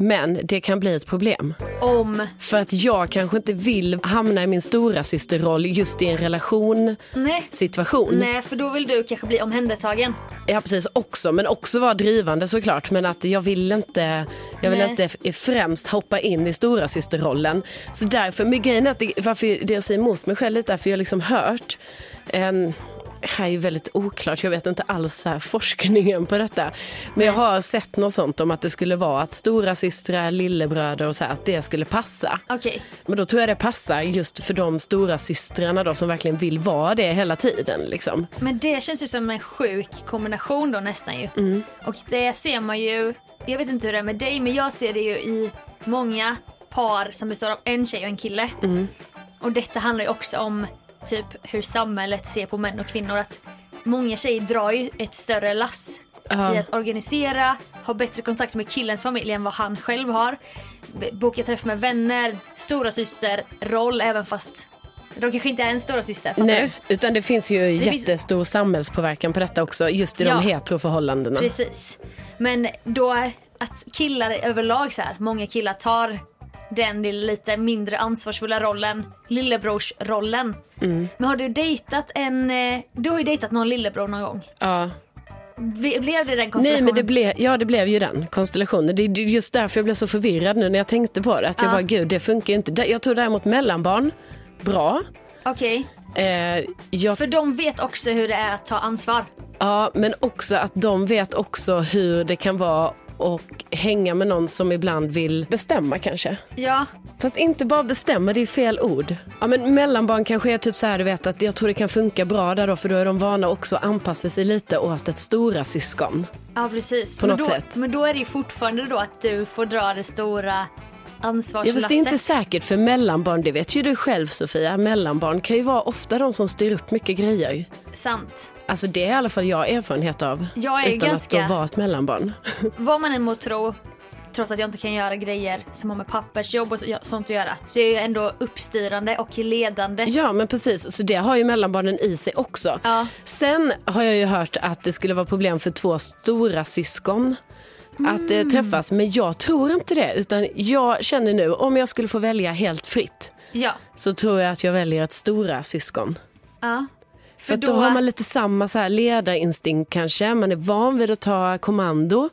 [SPEAKER 1] Men det kan bli ett problem.
[SPEAKER 2] Om,
[SPEAKER 1] För att jag kanske inte vill hamna i min stora systerroll just i en relation
[SPEAKER 2] nej.
[SPEAKER 1] situation.
[SPEAKER 2] Nej, för då vill du kanske bli omhändertagen.
[SPEAKER 1] Ja precis, också. Men också vara drivande såklart. Men att jag vill inte, jag vill
[SPEAKER 2] Nej.
[SPEAKER 1] inte f- främst hoppa in i stora systerrollen. Så därför, men grejen är att det, varför det jag säger emot mig själv lite är för jag har liksom hört en här är ju väldigt oklart, jag vet inte alls så här forskningen på detta. Men jag har sett något sånt om att det skulle vara att stora systrar, lillebröder och så här, att det skulle passa.
[SPEAKER 2] Okej.
[SPEAKER 1] Men då tror jag det passar just för de stora systrarna då som verkligen vill vara det hela tiden. Liksom.
[SPEAKER 2] Men det känns ju som en sjuk kombination då nästan ju.
[SPEAKER 1] Mm.
[SPEAKER 2] Och det ser man ju, jag vet inte hur det är med dig men jag ser det ju i många par som består av en tjej och en kille.
[SPEAKER 1] Mm.
[SPEAKER 2] Och detta handlar ju också om typ hur samhället ser på män och kvinnor. Att många tjejer drar ju ett större lass
[SPEAKER 1] Ja.
[SPEAKER 2] i att organisera, ha bättre kontakt med killens familj än vad han själv har. B- Boka träff med vänner, stora syster, roll även fast de kanske inte är en stora syster. fattar du?
[SPEAKER 1] Nej, utan det finns ju
[SPEAKER 2] finns-
[SPEAKER 1] jättestor samhällspåverkan på detta också, just i
[SPEAKER 2] Ja.
[SPEAKER 1] de heteroförhållandena.
[SPEAKER 2] Precis. Men då att killar överlag så här, många killar tar den lilla, lite mindre ansvarsfulla rollen, lillebrorsrollen.
[SPEAKER 1] Mm.
[SPEAKER 2] Men har du dejtat en, eh, du har ju dejtat någon lillebror någon gång.
[SPEAKER 1] Ja.
[SPEAKER 2] Ble, blev det den
[SPEAKER 1] Nej,
[SPEAKER 2] konstellationen?
[SPEAKER 1] men det, ble, ja, det blev ju den konstellationen. Det är ju just därför jag blev så förvirrad nu när jag tänkte på det. Att jag
[SPEAKER 2] Ja.
[SPEAKER 1] bara, gud, det funkar ju inte. Där- Jag tror däremot mellanbarn, bra.
[SPEAKER 2] Okej,
[SPEAKER 1] Eh, jag,
[SPEAKER 2] för de vet också hur det är att ta ansvar.
[SPEAKER 1] ja, men också att de vet också hur det kan vara och hänga med någon som ibland vill bestämma kanske.
[SPEAKER 2] Ja,
[SPEAKER 1] Fast inte bara bestämma, det är fel ord. Ja, men mellanbarn kanske är typ så här, du vet, att jag tror det kan funka bra där då, för då är de vana också att anpassa sig lite åt ett stora syskon.
[SPEAKER 2] ja precis.
[SPEAKER 1] På
[SPEAKER 2] men,
[SPEAKER 1] något
[SPEAKER 2] då,
[SPEAKER 1] sätt.
[SPEAKER 2] men då är det ju fortfarande då att du får dra det stora
[SPEAKER 1] Ja,
[SPEAKER 2] ansvarslasset.
[SPEAKER 1] fast det är inte säkert för mellanbarn, det vet ju du själv Sofia, mellanbarn kan ju vara ofta de som styr upp mycket grejer.
[SPEAKER 2] sant.
[SPEAKER 1] Alltså det är i alla fall jag erfarenhet av.
[SPEAKER 2] Jag är
[SPEAKER 1] utan
[SPEAKER 2] ganska-
[SPEAKER 1] att då vara ett mellanbarn.
[SPEAKER 2] Vad man än må tro, trots att jag inte kan göra grejer som har med pappersjobb och så- ja, sånt att göra, så är jag ju ändå uppstyrande och ledande.
[SPEAKER 1] Ja men precis, så det har ju mellanbarnen i sig också.
[SPEAKER 2] Ja.
[SPEAKER 1] Sen har jag ju hört att det skulle vara problem för två stora syskon att eh, träffas, men jag tror inte det. Utan jag känner nu, om jag skulle få välja helt fritt
[SPEAKER 2] Ja.
[SPEAKER 1] så tror jag att jag väljer ett stora syskon.
[SPEAKER 2] ja.
[SPEAKER 1] För att då,
[SPEAKER 2] då-
[SPEAKER 1] har man lite samma så här ledarinstinkt kanske, man är van vid att ta kommando.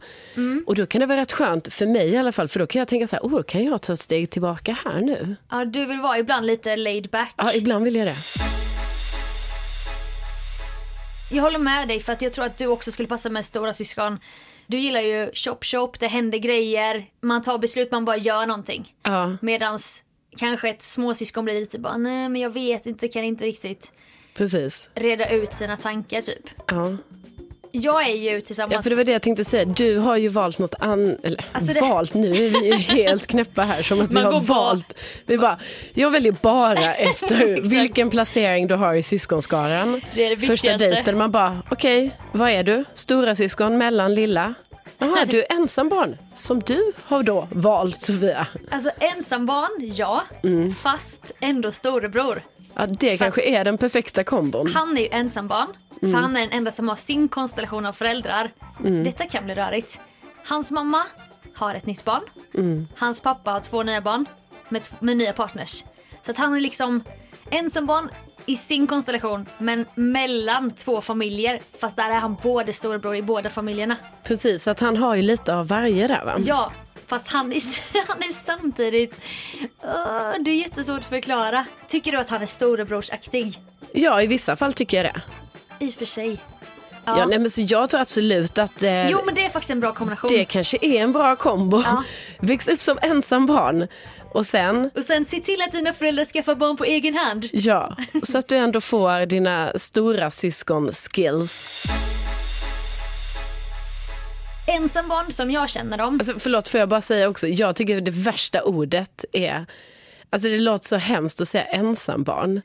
[SPEAKER 1] Och då kan det vara rätt skönt, för mig i alla fall, för då kan jag tänka så här, oh, kan jag ta ett steg tillbaka här nu?
[SPEAKER 2] ja, du vill vara ibland lite laid back.
[SPEAKER 1] Ja, ibland vill jag det.
[SPEAKER 2] Jag håller med dig för att jag tror att du också skulle passa med stora syskon. Du gillar ju shop shop, det händer grejer, man tar beslut, man bara gör någonting.
[SPEAKER 1] Ja,
[SPEAKER 2] Medans kanske ett småsyskon blir lite bara, nej men jag vet inte, kan inte riktigt
[SPEAKER 1] precis.
[SPEAKER 2] reda ut sina tankar typ.
[SPEAKER 1] Ja.
[SPEAKER 2] Jag är ju tillsammans...
[SPEAKER 1] Ja, för det var det jag tänkte säga. Du har ju valt något annat. Eller
[SPEAKER 2] Alltså det-
[SPEAKER 1] valt, nu är vi ju helt knäppa här. Som att vi
[SPEAKER 2] Man
[SPEAKER 1] har
[SPEAKER 2] går bara-
[SPEAKER 1] valt. Vi bara, jag väljer bara efter
[SPEAKER 2] Exakt.
[SPEAKER 1] vilken placering du har i syskonskaran.
[SPEAKER 2] Det är det
[SPEAKER 1] Första
[SPEAKER 2] viktigaste.
[SPEAKER 1] dejten, man bara, okej, vad är du? Stora syskon, mellan, lilla? Jaha, du är ensambarn. Som du har då valt, Sofia.
[SPEAKER 2] Alltså ensambarn, ja. Fast ändå storebror.
[SPEAKER 1] Ja, det kanske är den perfekta kombon.
[SPEAKER 2] Han är ju ensambarn. För han är den enda som har sin konstellation av föräldrar. Detta kan bli rörigt. Hans mamma har ett nytt barn. Hans pappa har två nya barn med, t- med nya partners. Så att han är liksom ensambarn i sin konstellation men mellan två familjer. Fast där är han både storebror i båda familjerna.
[SPEAKER 1] Precis, så att han har ju lite av varje där va?
[SPEAKER 2] Ja, fast han är, han är samtidigt... Åh, det är jättesvårt att förklara. Tycker du att han är storebrorsaktig?
[SPEAKER 1] Ja, i vissa fall tycker jag det.
[SPEAKER 2] I och för sig.
[SPEAKER 1] Ja. nej, men så jag tror absolut att eh,
[SPEAKER 2] Jo men det är faktiskt en bra kombination.
[SPEAKER 1] det kanske är en bra kombo.
[SPEAKER 2] Ja.
[SPEAKER 1] Väx upp som ensam barn och sen,
[SPEAKER 2] Och sen se till att dina föräldrar skaffar barn på egen hand.
[SPEAKER 1] ja, så att du ändå får dina stora syskon skills.
[SPEAKER 2] Ensambarn som jag känner dem.
[SPEAKER 1] Alltså, förlåt, får jag bara säga också, jag tycker det värsta ordet är, alltså det låter så hemskt att säga ensambarn.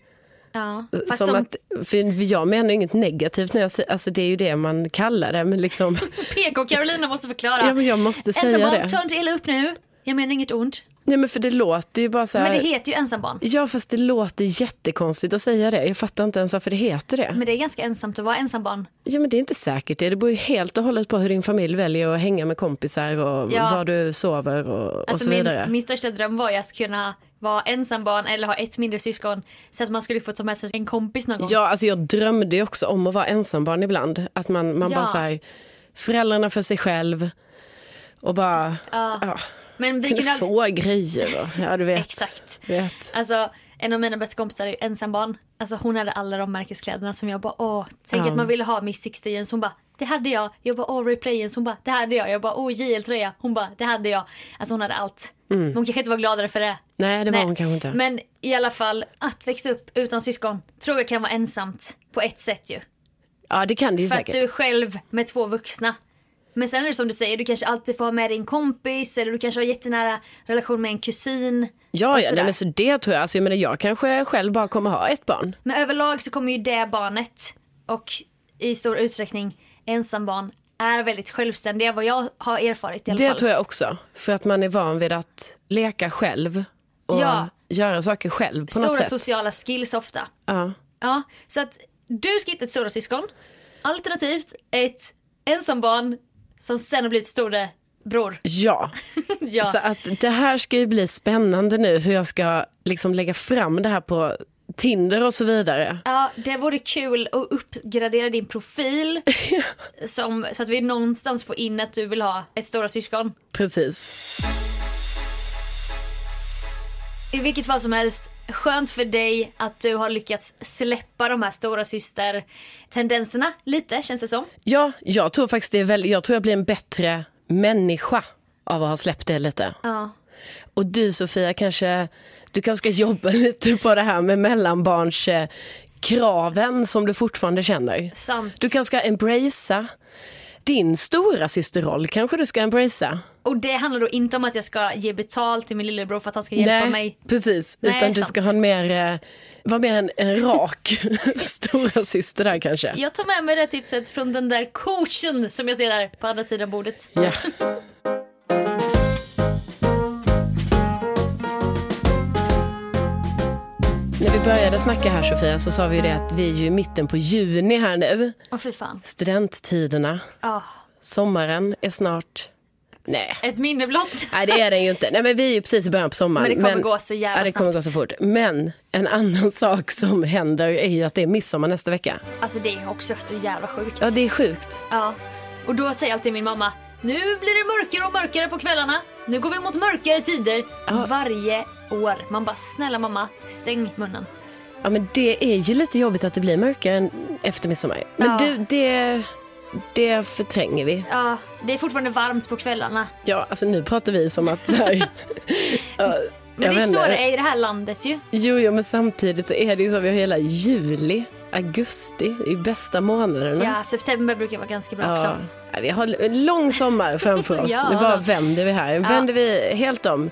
[SPEAKER 2] Ja. Fast
[SPEAKER 1] Som
[SPEAKER 2] som
[SPEAKER 1] att, för jag menar inget negativt när jag säger, alltså det är ju det man kallar det, men liksom,
[SPEAKER 2] PK Carolina måste förklara.
[SPEAKER 1] ja men jag måste säga
[SPEAKER 2] ensambarn,
[SPEAKER 1] det.
[SPEAKER 2] ta inte illa upp nu. Jag menar inget ont.
[SPEAKER 1] Nej men för det låter ju bara så
[SPEAKER 2] Men det
[SPEAKER 1] här,
[SPEAKER 2] heter ju ensambarn.
[SPEAKER 1] ja fast det låter jättekonstigt att säga det, jag fattar inte ens varför det heter det.
[SPEAKER 2] Men det är ganska ensamt att vara ensambarn.
[SPEAKER 1] Ja men det är inte säkert det. Det beror ju helt och hållet på hur din familj väljer att hänga med kompisar och
[SPEAKER 2] Ja.
[SPEAKER 1] var du sover och, och
[SPEAKER 2] Alltså
[SPEAKER 1] så vidare.
[SPEAKER 2] min, min största dröm var ju att kunna vara ensambarn eller ha ett mindre syskon. Så att man skulle få ta med sig en kompis någon gång.
[SPEAKER 1] Ja alltså jag drömde ju också om att vara ensambarn ibland. Att man, man
[SPEAKER 2] Ja.
[SPEAKER 1] bara såhär, föräldrarna för sig själv och bara
[SPEAKER 2] Ja.
[SPEAKER 1] ja,
[SPEAKER 2] Men vi
[SPEAKER 1] kunde
[SPEAKER 2] kunde aldrig...
[SPEAKER 1] få grejer. Och, ja du vet.
[SPEAKER 2] Exakt.
[SPEAKER 1] vet.
[SPEAKER 2] Alltså en av mina bästa kompisar är ju ensambarn. Alltså hon hade alla de märkeskläderna som jag bara åh, tänk
[SPEAKER 1] Ja.
[SPEAKER 2] att man ville ha Miss 60 jeans. Hon bara det hade jag. Jag bara åh replay jeans. Hon bara det hade jag. Jag bara åh JL tröja. Hon bara det hade jag. Alltså hon hade allt. Men hon kanske inte var gladare för det.
[SPEAKER 1] Nej det var
[SPEAKER 2] Nej,
[SPEAKER 1] Mm. hon kanske inte.
[SPEAKER 2] Men i alla fall att växa upp utan syskon tror jag kan vara ensamt på ett sätt ju.
[SPEAKER 1] Ja det kan det ju
[SPEAKER 2] För
[SPEAKER 1] säkert.
[SPEAKER 2] att du är själv med två vuxna. Men sen är det som du säger, du kanske alltid får ha med din kompis eller du kanske har jättenära relation med en kusin.
[SPEAKER 1] Ja,
[SPEAKER 2] och
[SPEAKER 1] ja
[SPEAKER 2] sådär.
[SPEAKER 1] nej, men så det tror jag. Alltså, jag menar jag kanske själv bara kommer ha ett barn.
[SPEAKER 2] Men överlag så kommer ju det barnet och i stor utsträckning ensambarn är väldigt självständiga vad jag har erfarit i alla
[SPEAKER 1] Det
[SPEAKER 2] fall.
[SPEAKER 1] tror jag också. För att man är van vid att leka själv och
[SPEAKER 2] Ja.
[SPEAKER 1] göra saker själv på något
[SPEAKER 2] Stora
[SPEAKER 1] sätt.
[SPEAKER 2] sociala skills ofta.
[SPEAKER 1] Ja.
[SPEAKER 2] Ja, så att du ska hitta ett stora syskon. Alternativt ett ensambarn som sen har blivit storebror.
[SPEAKER 1] Ja,
[SPEAKER 2] ja.
[SPEAKER 1] så att det här ska ju bli spännande nu hur jag ska liksom lägga fram det här på Tinder och så vidare.
[SPEAKER 2] Ja, det vore kul att uppgradera din profil som, så att vi någonstans får in att du vill ha ett stora syskon.
[SPEAKER 1] Precis.
[SPEAKER 2] I vilket fall som helst, skönt för dig att du har lyckats släppa de här stora syster tendenserna lite känns det som.
[SPEAKER 1] Ja, jag tror faktiskt det är väl, jag tror jag blir en bättre människa av att ha släppt det lite.
[SPEAKER 2] Ja.
[SPEAKER 1] Och du Sofia, kanske, du kanske ska jobba lite på det här med mellanbarns eh, kraven som du fortfarande känner.
[SPEAKER 2] Sant.
[SPEAKER 1] Du kanske ska embracea din stora systerroll kanske du ska embracea.
[SPEAKER 2] Och det handlar då inte om att jag ska ge betalt till min lillebror för att han ska hjälpa mig.
[SPEAKER 1] precis.
[SPEAKER 2] Nej,
[SPEAKER 1] Utan du
[SPEAKER 2] sant.
[SPEAKER 1] ska ha en mer, eh, vara mer en, en rak stora syster där kanske.
[SPEAKER 2] Jag tar med mig det tipset från den där coachen som jag ser där på andra sidan bordet.
[SPEAKER 1] Ja. När vi började snacka här Sofia så sa vi ju det att vi är ju i mitten på juni här nu.
[SPEAKER 2] Åh fy fan.
[SPEAKER 1] Studenttiderna,
[SPEAKER 2] Ah,
[SPEAKER 1] sommaren är snart... Nej.
[SPEAKER 2] ett minne blott.
[SPEAKER 1] Nej det är den ju inte. Nej men vi är ju precis i början på sommaren.
[SPEAKER 2] Men det kommer gå så jävla
[SPEAKER 1] Ja det kommer
[SPEAKER 2] Äh, snabbt.
[SPEAKER 1] gå så fort. Men en annan sak som händer är ju att det är midsommar nästa vecka.
[SPEAKER 2] Alltså det är också så jävla sjukt.
[SPEAKER 1] Ja det är sjukt.
[SPEAKER 2] Ja. Och då säger alltid min mamma, nu blir det mörkare och mörkare på kvällarna. Nu går vi mot mörkare tider varje år. Man bara, snälla mamma, stäng munnen.
[SPEAKER 1] Ja men det är ju lite jobbigt att det blir mörkare än efter midsommar. Men
[SPEAKER 2] Ja.
[SPEAKER 1] du, det, det förtränger vi.
[SPEAKER 2] Ja, det är fortfarande varmt på kvällarna.
[SPEAKER 1] Ja alltså nu pratar vi som att så här, ja,
[SPEAKER 2] Men det är så det är i det här landet ju.
[SPEAKER 1] Jo, jo men samtidigt så är det ju så vi har hela juli, augusti, i bästa månaderna.
[SPEAKER 2] Ja, september brukar vara ganska bra
[SPEAKER 1] Ja.
[SPEAKER 2] också.
[SPEAKER 1] Ja, vi har en lång sommar framför oss.
[SPEAKER 2] Ja.
[SPEAKER 1] Nu bara vänder vi här. Vänder vi helt om.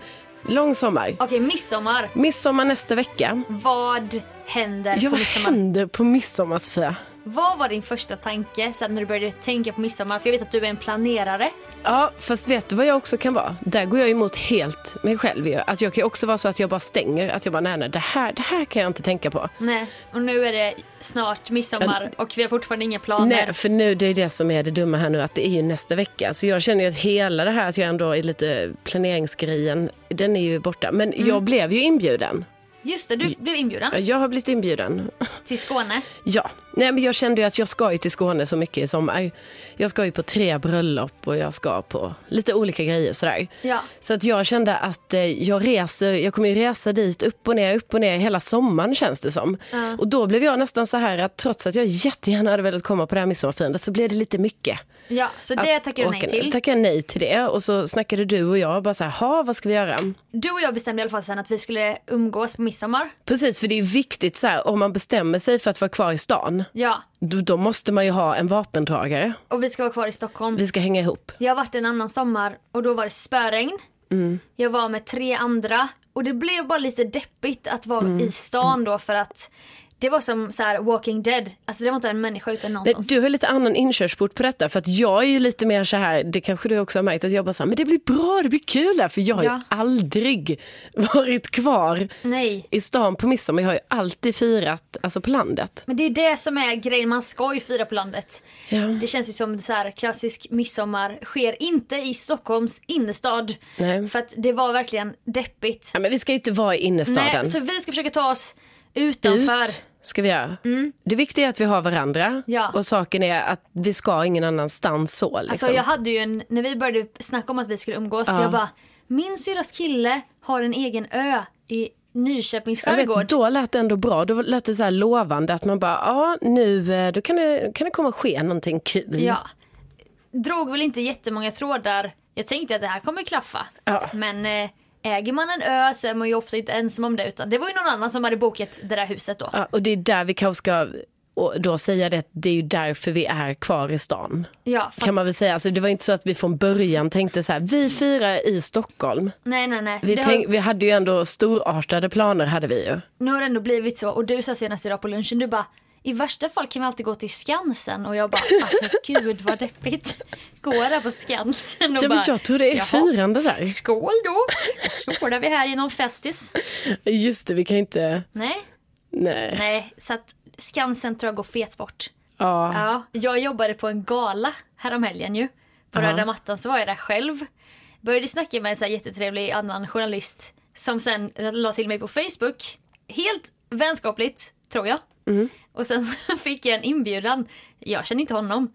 [SPEAKER 1] Lång sommar.
[SPEAKER 2] Okej, midsommar.
[SPEAKER 1] Midsommar nästa vecka.
[SPEAKER 2] Vad händer
[SPEAKER 1] Ja,
[SPEAKER 2] på
[SPEAKER 1] vad
[SPEAKER 2] midsommar?
[SPEAKER 1] händer på midsommar, Sofia?
[SPEAKER 2] Vad var din första tanke sen när du började tänka på midsommar? För jag vet att du är en planerare.
[SPEAKER 1] Ja, fast vet du vad jag också kan vara? Där går jag emot helt mig själv. ju. Alltså, jag kan ju också vara så att jag bara stänger. Att jag bara, nej, nej, det här, det här kan jag inte tänka på.
[SPEAKER 2] Nej. Och nu är det snart midsommar och vi har fortfarande inga planer.
[SPEAKER 1] Nej, för nu det är det som är det dumma här nu, att det är ju nästa vecka. Så jag känner ju att hela det Mm. här, att jag ändå är lite planeringsgrejen, den är ju borta. Men jag blev ju inbjuden
[SPEAKER 2] Just det, du blev inbjuden
[SPEAKER 1] Jag har blivit inbjuden.
[SPEAKER 2] till Skåne.
[SPEAKER 1] Ja, nej men jag kände ju att jag ska ju till Skåne så mycket i sommar. Jag ska ju på tre bröllop och jag ska på lite olika grejer sådär.
[SPEAKER 2] Ja.
[SPEAKER 1] Så att jag kände att eh, jag reser, jag kommer ju resa dit upp och ner, upp och ner hela sommaren känns det som. Och då blev jag nästan så här att trots att jag jättegärna hade velat komma på det här midsommarfirandet så blev det lite mycket.
[SPEAKER 2] Ja, så det
[SPEAKER 1] Att
[SPEAKER 2] tackar du
[SPEAKER 1] åka
[SPEAKER 2] nej
[SPEAKER 1] ner. Så
[SPEAKER 2] till.
[SPEAKER 1] tackade jag nej till det och så snackade du och jag bara så här, "Ha, vad ska vi göra?
[SPEAKER 2] Du och jag bestämde i alla fall sen att vi skulle umgås på midsommar.
[SPEAKER 1] Precis, för det är viktigt så här, om man bestämmer sig för att vara kvar i stan,
[SPEAKER 2] Ja,
[SPEAKER 1] då, då måste man ju ha en vapendragare.
[SPEAKER 2] och vi ska vara kvar i Stockholm.
[SPEAKER 1] Vi ska hänga ihop.
[SPEAKER 2] Jag har varit en annan sommar och då var det spöregn.
[SPEAKER 1] Mm.
[SPEAKER 2] Jag var med tre andra och det blev bara lite deppigt att vara
[SPEAKER 1] Mm.
[SPEAKER 2] i stan då för att det var som så här Walking Dead. Alltså det var inte en människa utan
[SPEAKER 1] Nej,
[SPEAKER 2] någonstans.
[SPEAKER 1] du har lite annan inkörsport på detta för att jag är ju lite mer så här, det kanske du också har märkt, att jag bara så här, men det blir bra, det blir kul här för jag har ju
[SPEAKER 2] Ja.
[SPEAKER 1] aldrig varit kvar
[SPEAKER 2] Nej.
[SPEAKER 1] i stan på midsommar, jag har ju alltid firat alltså på landet.
[SPEAKER 2] Men det är det som är grejen, man ska ju fira på landet.
[SPEAKER 1] Ja.
[SPEAKER 2] Det känns ju som så här klassisk midsommar sker inte i Stockholms innerstad.
[SPEAKER 1] Nej.
[SPEAKER 2] För att det var verkligen deppigt.
[SPEAKER 1] Ja, men vi ska ju inte vara i innerstaden.
[SPEAKER 2] Nej, så vi ska försöka ta oss utanför.
[SPEAKER 1] Ut ska vi göra. Det viktiga är att vi har varandra
[SPEAKER 2] Mm. Ja.
[SPEAKER 1] och saken är att vi ska ingen annanstans så. Liksom.
[SPEAKER 2] Alltså jag hade ju en, när vi började snacka om att vi skulle umgås, så
[SPEAKER 1] Ja.
[SPEAKER 2] jag bara, min syrras kille har en egen ö i Nyköpings
[SPEAKER 1] Jag
[SPEAKER 2] skärgård.
[SPEAKER 1] vet, då lät det ändå bra. Då lät det så här lovande att man bara, ja nu eh, då kan det, kan det komma att ske någonting kul.
[SPEAKER 2] Ja. Drog väl inte jättemånga trådar. Jag tänkte att det här kommer klaffa.
[SPEAKER 1] Ja.
[SPEAKER 2] Men eh, äger man en ö så är man ju ofta inte ensam om det, utan det var ju någon annan som hade bokat det där huset då.
[SPEAKER 1] Ja, och det är där vi kanske ska och då säga det, att det är ju därför vi är kvar i stan.
[SPEAKER 2] Ja, fast,
[SPEAKER 1] Kan man väl säga. Alltså, det var inte så att vi från början tänkte så här, vi firar i Stockholm.
[SPEAKER 2] nej nej nej.
[SPEAKER 1] Vi,
[SPEAKER 2] det
[SPEAKER 1] tänk,
[SPEAKER 2] har,
[SPEAKER 1] vi hade ju ändå storartade planer hade vi ju.
[SPEAKER 2] nu har det ändå blivit så, och du sa senast idag på lunchen, du bara i värsta fall kan vi alltid gå till Skansen och jag bara alltså gud vad deppigt. Gå där på Skansen och
[SPEAKER 1] Ja, men
[SPEAKER 2] bara
[SPEAKER 1] jag tror det är
[SPEAKER 2] jaha.
[SPEAKER 1] firande där.
[SPEAKER 2] Skål då! Skålar vi här i någon festis.
[SPEAKER 1] Just det, vi kan inte,
[SPEAKER 2] Nej,
[SPEAKER 1] nej.
[SPEAKER 2] nej, så att Skansen tror jag går fet bort.
[SPEAKER 1] Ja.
[SPEAKER 2] Ja, jag jobbade på en gala häromhelgen ju. På röda mattan så var jag där själv. Började snacka med en så här jättetrevlig annan journalist som sen la till mig på Facebook. Helt vänskapligt, tror jag.
[SPEAKER 1] Mm.
[SPEAKER 2] Och sen så fick jag en inbjudan. Jag känner inte honom.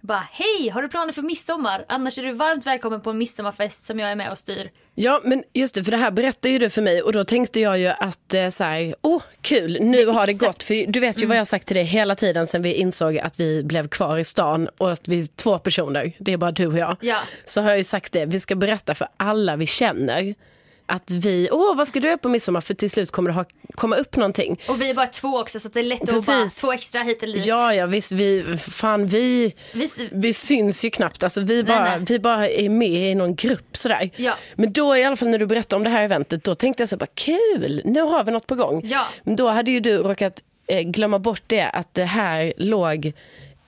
[SPEAKER 2] Bara, hej, har du planer för midsommar? Annars är du varmt välkommen på en midsommarfest som jag är med och styr.
[SPEAKER 1] Ja, men just det, för det här berättade ju du för mig och då tänkte jag ju att eh, så här, åh kul, nu har det
[SPEAKER 2] exakt. Mm.
[SPEAKER 1] gått. För du vet ju vad jag har sagt till dig hela tiden sen vi insåg att vi blev kvar i stan och att vi är två personer, det är bara du och jag.
[SPEAKER 2] Ja.
[SPEAKER 1] Så har jag ju sagt det, vi ska berätta för alla vi känner att vi, åh vad ska du göra på midsommar? För till slut kommer det ha, komma upp någonting.
[SPEAKER 2] Och vi är bara två också så att det är lätt att
[SPEAKER 1] Precis.
[SPEAKER 2] bara två extra hit eller dit.
[SPEAKER 1] Ja, ja visst, vi, fan vi,
[SPEAKER 2] Vi,
[SPEAKER 1] vi syns ju knappt, alltså, vi, bara,
[SPEAKER 2] nej.
[SPEAKER 1] vi bara är med i någon grupp sådär.
[SPEAKER 2] Ja.
[SPEAKER 1] Men då i alla fall när du berättade om det här eventet, då tänkte jag så bara kul, nu har vi något på gång.
[SPEAKER 2] Ja.
[SPEAKER 1] Men då hade ju du råkat eh, glömma bort det, att det här låg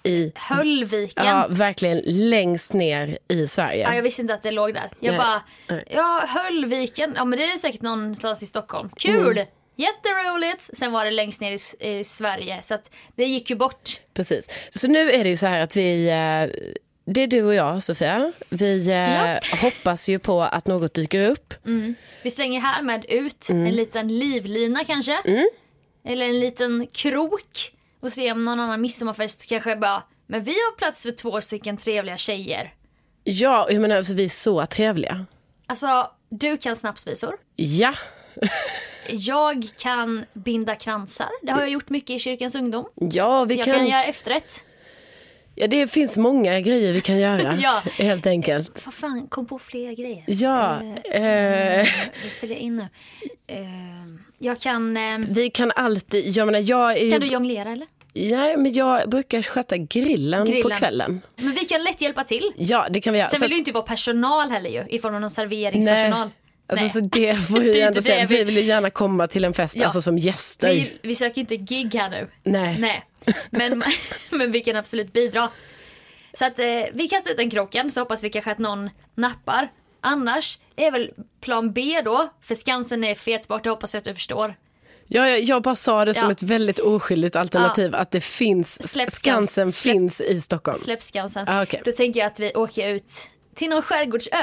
[SPEAKER 1] i,
[SPEAKER 2] Höllviken.
[SPEAKER 1] ja,
[SPEAKER 2] Ja.
[SPEAKER 1] verkligen längst ner i Sverige.
[SPEAKER 2] jag visste inte att det låg där. Jag
[SPEAKER 1] Nej.
[SPEAKER 2] bara,
[SPEAKER 1] Nej.
[SPEAKER 2] ja Höllviken, ja men det är säkert någonstans i Stockholm. Kul!
[SPEAKER 1] Mm.
[SPEAKER 2] Jätteroligt! Sen var det längst ner i, S- i Sverige så att det gick ju bort.
[SPEAKER 1] Precis. Så nu är det ju så här att vi, eh, det är du och jag Sofia, vi eh,
[SPEAKER 2] Ja. Mm.
[SPEAKER 1] hoppas ju på att något dyker upp.
[SPEAKER 2] Vi slänger härmed ut
[SPEAKER 1] Mm.
[SPEAKER 2] en liten livlina kanske. Eller en liten krok. Och se om någon annan midsommarfest kanske bara, men vi har plats för två stycken trevliga tjejer.
[SPEAKER 1] Ja, jag menar alltså, vi är så trevliga.
[SPEAKER 2] Alltså, du kan snapsvisor.
[SPEAKER 1] Ja,
[SPEAKER 2] Jag kan binda kransar. Det har jag gjort mycket i kyrkans ungdom.
[SPEAKER 1] ja vi
[SPEAKER 2] Jag kan, göra efterrätt.
[SPEAKER 1] Ja, det finns många grejer vi kan göra,
[SPEAKER 2] Ja.
[SPEAKER 1] helt enkelt.
[SPEAKER 2] Vad fan, kom på fler grejer.
[SPEAKER 1] Ja, eh,
[SPEAKER 2] Vi säljer in nu. Eh, jag kan... Eh,
[SPEAKER 1] vi kan alltid... Jag menar, jag, är ju,
[SPEAKER 2] kan du jonglera eller?
[SPEAKER 1] ja, men jag brukar sköta grillen, på
[SPEAKER 2] Grillen.
[SPEAKER 1] kvällen.
[SPEAKER 2] Men vi kan lätt hjälpa till.
[SPEAKER 1] Ja, det kan vi göra.
[SPEAKER 2] Sen
[SPEAKER 1] Så
[SPEAKER 2] vill du inte vara personal heller ju, i form av någon
[SPEAKER 1] nej,
[SPEAKER 2] serveringspersonal.
[SPEAKER 1] alltså,
[SPEAKER 2] Nej.
[SPEAKER 1] så det får vi
[SPEAKER 2] Det
[SPEAKER 1] ju
[SPEAKER 2] är
[SPEAKER 1] ändå
[SPEAKER 2] inte det
[SPEAKER 1] säga.
[SPEAKER 2] vi-
[SPEAKER 1] Vi vill ju gärna komma till en fest
[SPEAKER 2] Ja.
[SPEAKER 1] alltså, som gäster.
[SPEAKER 2] Vi, vi söker inte gig här nu.
[SPEAKER 1] Nej.
[SPEAKER 2] Nej. Men, men vi kan absolut bidra. Så att eh, vi kastar ut den kroken så hoppas vi kanske att någon nappar. Annars är väl plan B då, för Skansen är fetbart, det hoppas jag att du förstår.
[SPEAKER 1] Ja, jag, jag bara sa det som
[SPEAKER 2] Ja.
[SPEAKER 1] ett väldigt oskyldigt alternativ, att det finns,
[SPEAKER 2] Släpp Skans-
[SPEAKER 1] Skansen
[SPEAKER 2] släpp-
[SPEAKER 1] finns i Stockholm.
[SPEAKER 2] Släpp Skansen.
[SPEAKER 1] Ah, okej.
[SPEAKER 2] Då tänker jag att vi åker ut till någon skärgårdsö.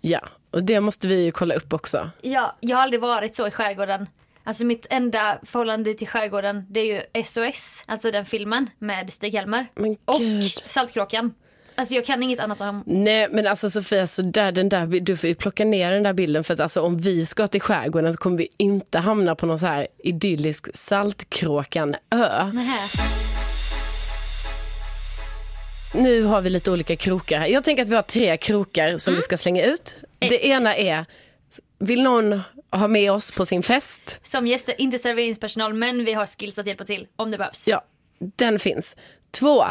[SPEAKER 1] Ja, och det måste vi ju kolla upp också.
[SPEAKER 2] Ja, jag har aldrig varit så i skärgården. Alltså mitt enda förhållande till skärgården det är ju SOS, alltså den filmen med Stig-Helmer.
[SPEAKER 1] Men
[SPEAKER 2] Och
[SPEAKER 1] gud.
[SPEAKER 2] Saltkråkan. Alltså jag kan inget annat om...
[SPEAKER 1] Nej men alltså Sofia, så där, den där, bi- du får ju plocka ner den där bilden för att alltså, om vi ska till skärgården så kommer vi inte hamna på någon så här idyllisk Saltkråkan-ö.
[SPEAKER 2] Nähä.
[SPEAKER 1] Nu har vi lite olika krokar här. Jag tänker att vi har tre krokar som vi ska slänga ut.
[SPEAKER 2] Ett.
[SPEAKER 1] Det ena är, vill någon ha med oss på sin fest?
[SPEAKER 2] Som gäster, inte serveringspersonal men vi har skills att hjälpa till om det behövs.
[SPEAKER 1] Ja, den finns. Två,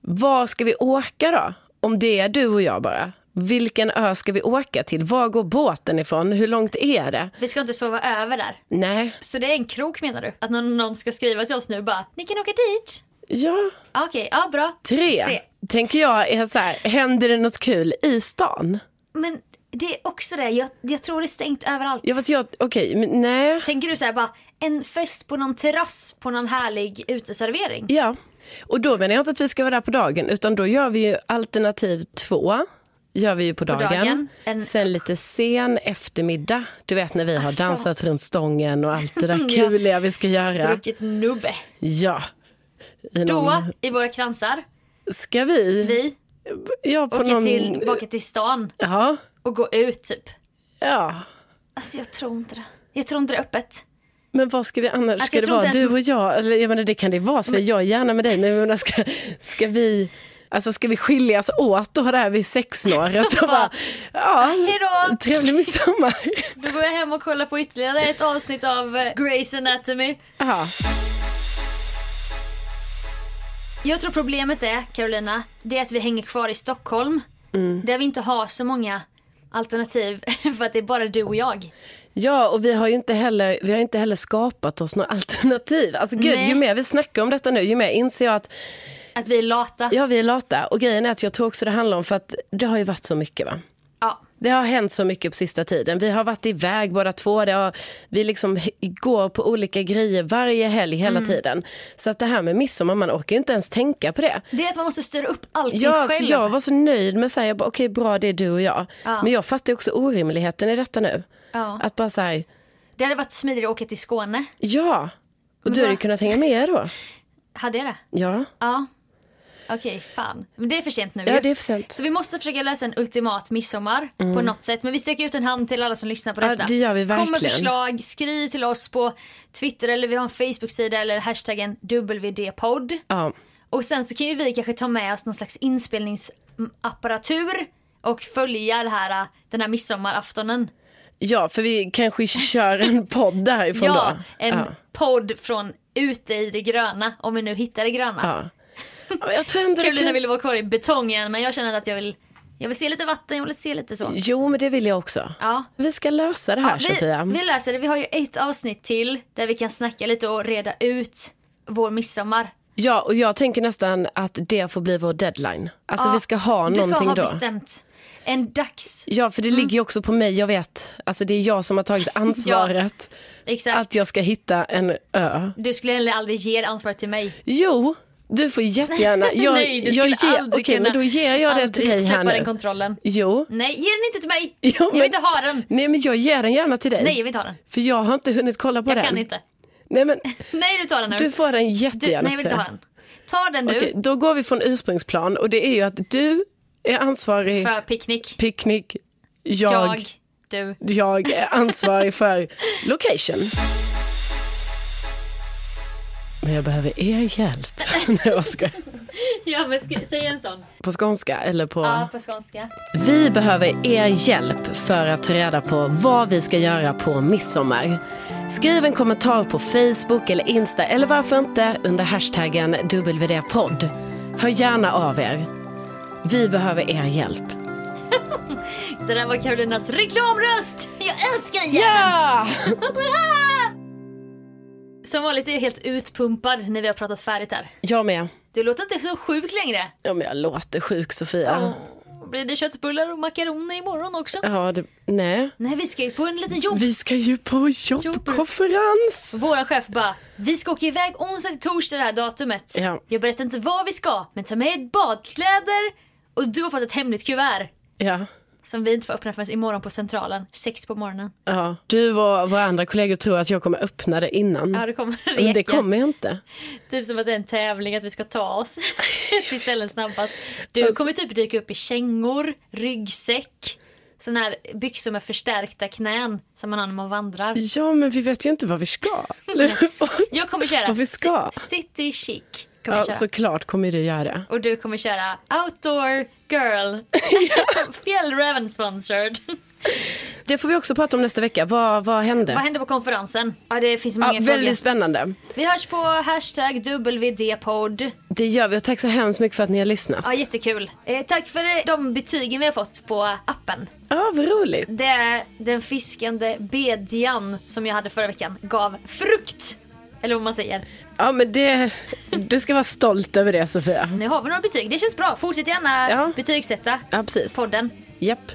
[SPEAKER 1] var ska vi åka då? Om det är du och jag bara. Vilken ö ska vi åka till? Var går båten ifrån? Hur långt är det?
[SPEAKER 2] Vi ska inte sova över där.
[SPEAKER 1] Nej,
[SPEAKER 2] Så det är en krok menar du? Att någon, någon ska skriva till oss nu bara ni kan åka dit.
[SPEAKER 1] ja,
[SPEAKER 2] Ah, Okej, ja bra.
[SPEAKER 1] tre.
[SPEAKER 2] Tre.
[SPEAKER 1] Tänker jag är så här, händer det något kul i stan?
[SPEAKER 2] Men det är också det, jag, jag tror det är stängt överallt.
[SPEAKER 1] Jag vet, jag, okej, men nej.
[SPEAKER 2] Tänker du så här bara en fest på någon terrass på någon härlig uteservering?
[SPEAKER 1] Ja, och då menar jag inte att vi ska vara där på dagen utan då gör vi ju alternativ två. Gör vi ju på dagen.
[SPEAKER 2] dagen. En-
[SPEAKER 1] Sen lite sen eftermiddag. Du vet när vi har
[SPEAKER 2] Alltså.
[SPEAKER 1] dansat runt stången och allt det där
[SPEAKER 2] Ja.
[SPEAKER 1] kuliga vi ska göra.
[SPEAKER 2] Druckit nubbe.
[SPEAKER 1] Ja. I
[SPEAKER 2] Då,
[SPEAKER 1] någon...
[SPEAKER 2] i våra kransar,
[SPEAKER 1] Ska vi?
[SPEAKER 2] vi
[SPEAKER 1] Ja, på
[SPEAKER 2] åker
[SPEAKER 1] någon...
[SPEAKER 2] tillbaka till stan
[SPEAKER 1] Ja.
[SPEAKER 2] och går ut typ.
[SPEAKER 1] ja.
[SPEAKER 2] Alltså jag tror inte det. Jag tror inte det är öppet.
[SPEAKER 1] Men vad ska vi annars?
[SPEAKER 2] Alltså,
[SPEAKER 1] ska
[SPEAKER 2] jag
[SPEAKER 1] det
[SPEAKER 2] tror
[SPEAKER 1] vara
[SPEAKER 2] inte
[SPEAKER 1] du
[SPEAKER 2] ens-
[SPEAKER 1] och jag? Eller jag menar, det kan det vara, Sofia. Jag är gärna med dig. Men jag menar, ska, ska vi... Alltså ska vi skiljas åt och ha det här vid sexsnåret? Och bara, ja,
[SPEAKER 2] Hejdå!
[SPEAKER 1] Trevlig midsommar.
[SPEAKER 2] Då går jag hem och kollar på ytterligare ett avsnitt av eh, Grey's Anatomy.
[SPEAKER 1] Ja.
[SPEAKER 2] Jag tror problemet är, Carolina, det är att vi hänger kvar i Stockholm.
[SPEAKER 1] Mm.
[SPEAKER 2] Där vi inte har så många alternativ för att det är bara du och jag.
[SPEAKER 1] ja, och vi har ju inte heller, vi har inte heller skapat oss några alternativ. Alltså gud,
[SPEAKER 2] Nej.
[SPEAKER 1] ju mer vi snackar om detta nu, ju mer inser jag att
[SPEAKER 2] Att vi är lata.
[SPEAKER 1] ja, vi är lata. Och grejen är att jag tror också det handlar om, för att det har ju varit så mycket va.
[SPEAKER 2] Ja.
[SPEAKER 1] Det har hänt så mycket på sista tiden. Vi har varit iväg båda två. Det har, vi liksom h- går på olika grejer varje helg hela
[SPEAKER 2] Mm.
[SPEAKER 1] tiden. Så att det här med midsommar, man orkar ju inte ens tänka på det.
[SPEAKER 2] Det är att man måste styra upp allting
[SPEAKER 1] Ja, så
[SPEAKER 2] själv.
[SPEAKER 1] jag var så nöjd med att bara okej bra det är du och jag.
[SPEAKER 2] Ja.
[SPEAKER 1] Men jag fattar ju också orimligheten i detta nu.
[SPEAKER 2] Ja.
[SPEAKER 1] Att bara säga
[SPEAKER 2] Det hade varit smidigare att åka till Skåne.
[SPEAKER 1] Ja, och du hade ju
[SPEAKER 2] va?
[SPEAKER 1] kunnat hänga med då.
[SPEAKER 2] Hade jag det?
[SPEAKER 1] Ja,
[SPEAKER 2] Ja. Okej, fan. Men det är för sent nu
[SPEAKER 1] ja
[SPEAKER 2] ju.
[SPEAKER 1] det är för sent.
[SPEAKER 2] Så vi måste försöka lösa en ultimat midsommar på något sätt. Men vi sträcker ut en hand till alla som lyssnar på
[SPEAKER 1] Ja,
[SPEAKER 2] detta.
[SPEAKER 1] det gör vi verkligen.
[SPEAKER 2] Kommer förslag, skriv till oss på Twitter eller vi har en Facebook-sida eller hashtaggen WD-podd.
[SPEAKER 1] Ja.
[SPEAKER 2] Och sen så kan ju vi kanske ta med oss någon slags inspelningsapparatur och följa det här, äh, den här midsommaraftonen.
[SPEAKER 1] ja, för vi kanske kör en podd därifrån
[SPEAKER 2] Ja,
[SPEAKER 1] då.
[SPEAKER 2] en
[SPEAKER 1] Ja.
[SPEAKER 2] podd från ute i det gröna, om vi nu hittar det gröna.
[SPEAKER 1] Ja. Ja, men Jag tror ändå det
[SPEAKER 2] Carolina
[SPEAKER 1] kan...
[SPEAKER 2] ville vara kvar i betongen men jag känner att jag vill, jag vill se lite vatten, jag vill se lite så.
[SPEAKER 1] Jo, men det vill jag också.
[SPEAKER 2] Ja.
[SPEAKER 1] Vi ska lösa det Mm. här,
[SPEAKER 2] vi,
[SPEAKER 1] Sofia.
[SPEAKER 2] vi löser det, vi har ju ett avsnitt till där vi kan snacka lite och reda ut vår midsommar.
[SPEAKER 1] Ja, och jag tänker nästan att det får bli vår deadline. Alltså,
[SPEAKER 2] Ja,
[SPEAKER 1] vi ska ha
[SPEAKER 2] Du
[SPEAKER 1] någonting
[SPEAKER 2] ska ha
[SPEAKER 1] då.
[SPEAKER 2] bestämt Mm. en dags,
[SPEAKER 1] Ja, för det ligger ju också på mig, jag vet. Alltså, det är jag som har tagit ansvaret
[SPEAKER 2] exakt.
[SPEAKER 1] att jag ska hitta en ö.
[SPEAKER 2] Du skulle heller aldrig ge det ansvaret till mig.
[SPEAKER 1] Jo, du får jättegärna. Jag,
[SPEAKER 2] Nej, du
[SPEAKER 1] jag
[SPEAKER 2] skulle
[SPEAKER 1] ger,
[SPEAKER 2] aldrig
[SPEAKER 1] okej, men då
[SPEAKER 2] kunna-
[SPEAKER 1] ger jag det till
[SPEAKER 2] aldrig
[SPEAKER 1] dig här
[SPEAKER 2] släppa den
[SPEAKER 1] nu.
[SPEAKER 2] kontrollen.
[SPEAKER 1] Jo.
[SPEAKER 2] Nej, ge den inte till mig!
[SPEAKER 1] Jo,
[SPEAKER 2] jag vill
[SPEAKER 1] men- Eh,
[SPEAKER 2] inte ha den!
[SPEAKER 1] Nej men jag ger den gärna till dig.
[SPEAKER 2] Nej, jag vill inte ha den.
[SPEAKER 1] För jag har inte hunnit kolla på
[SPEAKER 2] Jag
[SPEAKER 1] den.
[SPEAKER 2] kan inte.
[SPEAKER 1] Nej men
[SPEAKER 2] Nej, du tar den nu.
[SPEAKER 1] du får den
[SPEAKER 2] Du-
[SPEAKER 1] jättegärna.
[SPEAKER 2] nej, jag vill inte
[SPEAKER 1] Sofia.
[SPEAKER 2] ha den. Ta den nu
[SPEAKER 1] Okej, då går vi från ursprungsplan och det är ju att du är ansvarig för
[SPEAKER 2] för picknick.
[SPEAKER 1] picknick,
[SPEAKER 2] Jag,
[SPEAKER 1] jag,
[SPEAKER 2] du.
[SPEAKER 1] jag. är ansvarig för location. Men jag behöver er hjälp. Nej, jag skojar.
[SPEAKER 2] Ja, men skri- säg en sån.
[SPEAKER 1] på skånska eller på...
[SPEAKER 2] Ja, på skånska.
[SPEAKER 1] Vi behöver er hjälp för att ta reda på vad vi ska göra på midsommar. Skriv en kommentar på Facebook eller Insta eller varför inte under hashtaggen WD-podd. Hör gärna av er. Vi behöver er hjälp.
[SPEAKER 2] Det där var Carolinas reklamröst! Jag älskar den!
[SPEAKER 1] Ja!
[SPEAKER 2] Som vanligt är jag helt utpumpad när vi har pratat färdigt här.
[SPEAKER 1] Jag med.
[SPEAKER 2] Du låter inte så sjuk längre.
[SPEAKER 1] Ja, men jag låter sjuk, Sofia.
[SPEAKER 2] Åh, Blir det köttbullar och makaroner imorgon också?
[SPEAKER 1] Ja, det... Nej.
[SPEAKER 2] Nej, vi ska ju på en liten jobb.
[SPEAKER 1] Vi ska ju på jobbkonferens.
[SPEAKER 2] Våran chef bara, vi ska åka iväg onsdag till torsdag det här datumet.
[SPEAKER 1] Ja.
[SPEAKER 2] Jag berättar inte vad vi ska, men ta med badkläder och du har fått ett hemligt kuvert.
[SPEAKER 1] Ja.
[SPEAKER 2] Som vi inte får öppna förrän imorgon på Centralen, sex på morgonen.
[SPEAKER 1] Ja. Du och våra andra kollegor tror att jag kommer öppna det innan.
[SPEAKER 2] Ja, det kommer
[SPEAKER 1] Mm. Men det
[SPEAKER 2] reka.
[SPEAKER 1] kommer jag inte.
[SPEAKER 2] Typ som att det är en tävling att vi ska ta oss till ställen snabbast.
[SPEAKER 1] Alltså-
[SPEAKER 2] Du kommer typ dyka upp i kängor, ryggsäck, sån här byxor med förstärkta knän som man har när man vandrar.
[SPEAKER 1] Ja, men vi vet ju inte vad vi ska. Eller vad-
[SPEAKER 2] Jag kommer köra
[SPEAKER 1] Varför ska?
[SPEAKER 2] ci- city chic. Kommer
[SPEAKER 1] ja,
[SPEAKER 2] jag köra.
[SPEAKER 1] såklart kommer du göra.
[SPEAKER 2] Och du kommer köra outdoor girl. Fjällräven sponsored.
[SPEAKER 1] Det får vi också prata om nästa vecka. Vad, vad hände?
[SPEAKER 2] Vad händer på konferensen? Ja, det finns många
[SPEAKER 1] Ja,
[SPEAKER 2] frågor.
[SPEAKER 1] väldigt spännande.
[SPEAKER 2] Vi hörs på hashtag WD-podd.
[SPEAKER 1] Det gör vi och tack så hemskt mycket för att ni har lyssnat.
[SPEAKER 2] Ja, jättekul. Eh, tack för eh, de betygen vi har fått på appen.
[SPEAKER 1] Ja, vad roligt.
[SPEAKER 2] Det är den fiskande bedjan som jag hade förra veckan gav frukt. Eller vad man säger.
[SPEAKER 1] Ja, men det, du ska vara stolt över det Sofia.
[SPEAKER 2] Nu har vi några betyg. Det känns bra. Fortsätt gärna
[SPEAKER 1] Ja.
[SPEAKER 2] betygsätta
[SPEAKER 1] Ja, precis.
[SPEAKER 2] podden.
[SPEAKER 1] Japp.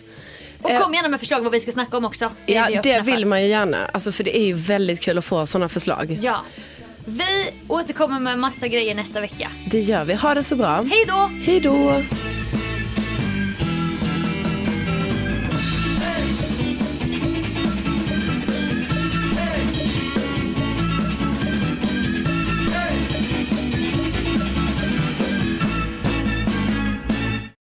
[SPEAKER 2] Och
[SPEAKER 1] Eh.
[SPEAKER 2] kom gärna med förslag vad vi ska snacka om också. Det är vi
[SPEAKER 1] Ja,
[SPEAKER 2] öppna
[SPEAKER 1] det
[SPEAKER 2] för.
[SPEAKER 1] vill man ju gärna. Alltså, för det är ju väldigt kul att få sådana förslag.
[SPEAKER 2] Ja. Vi återkommer med massa grejer nästa vecka.
[SPEAKER 1] Det gör vi. Ha det så bra.
[SPEAKER 2] Hej då!
[SPEAKER 1] Hej då.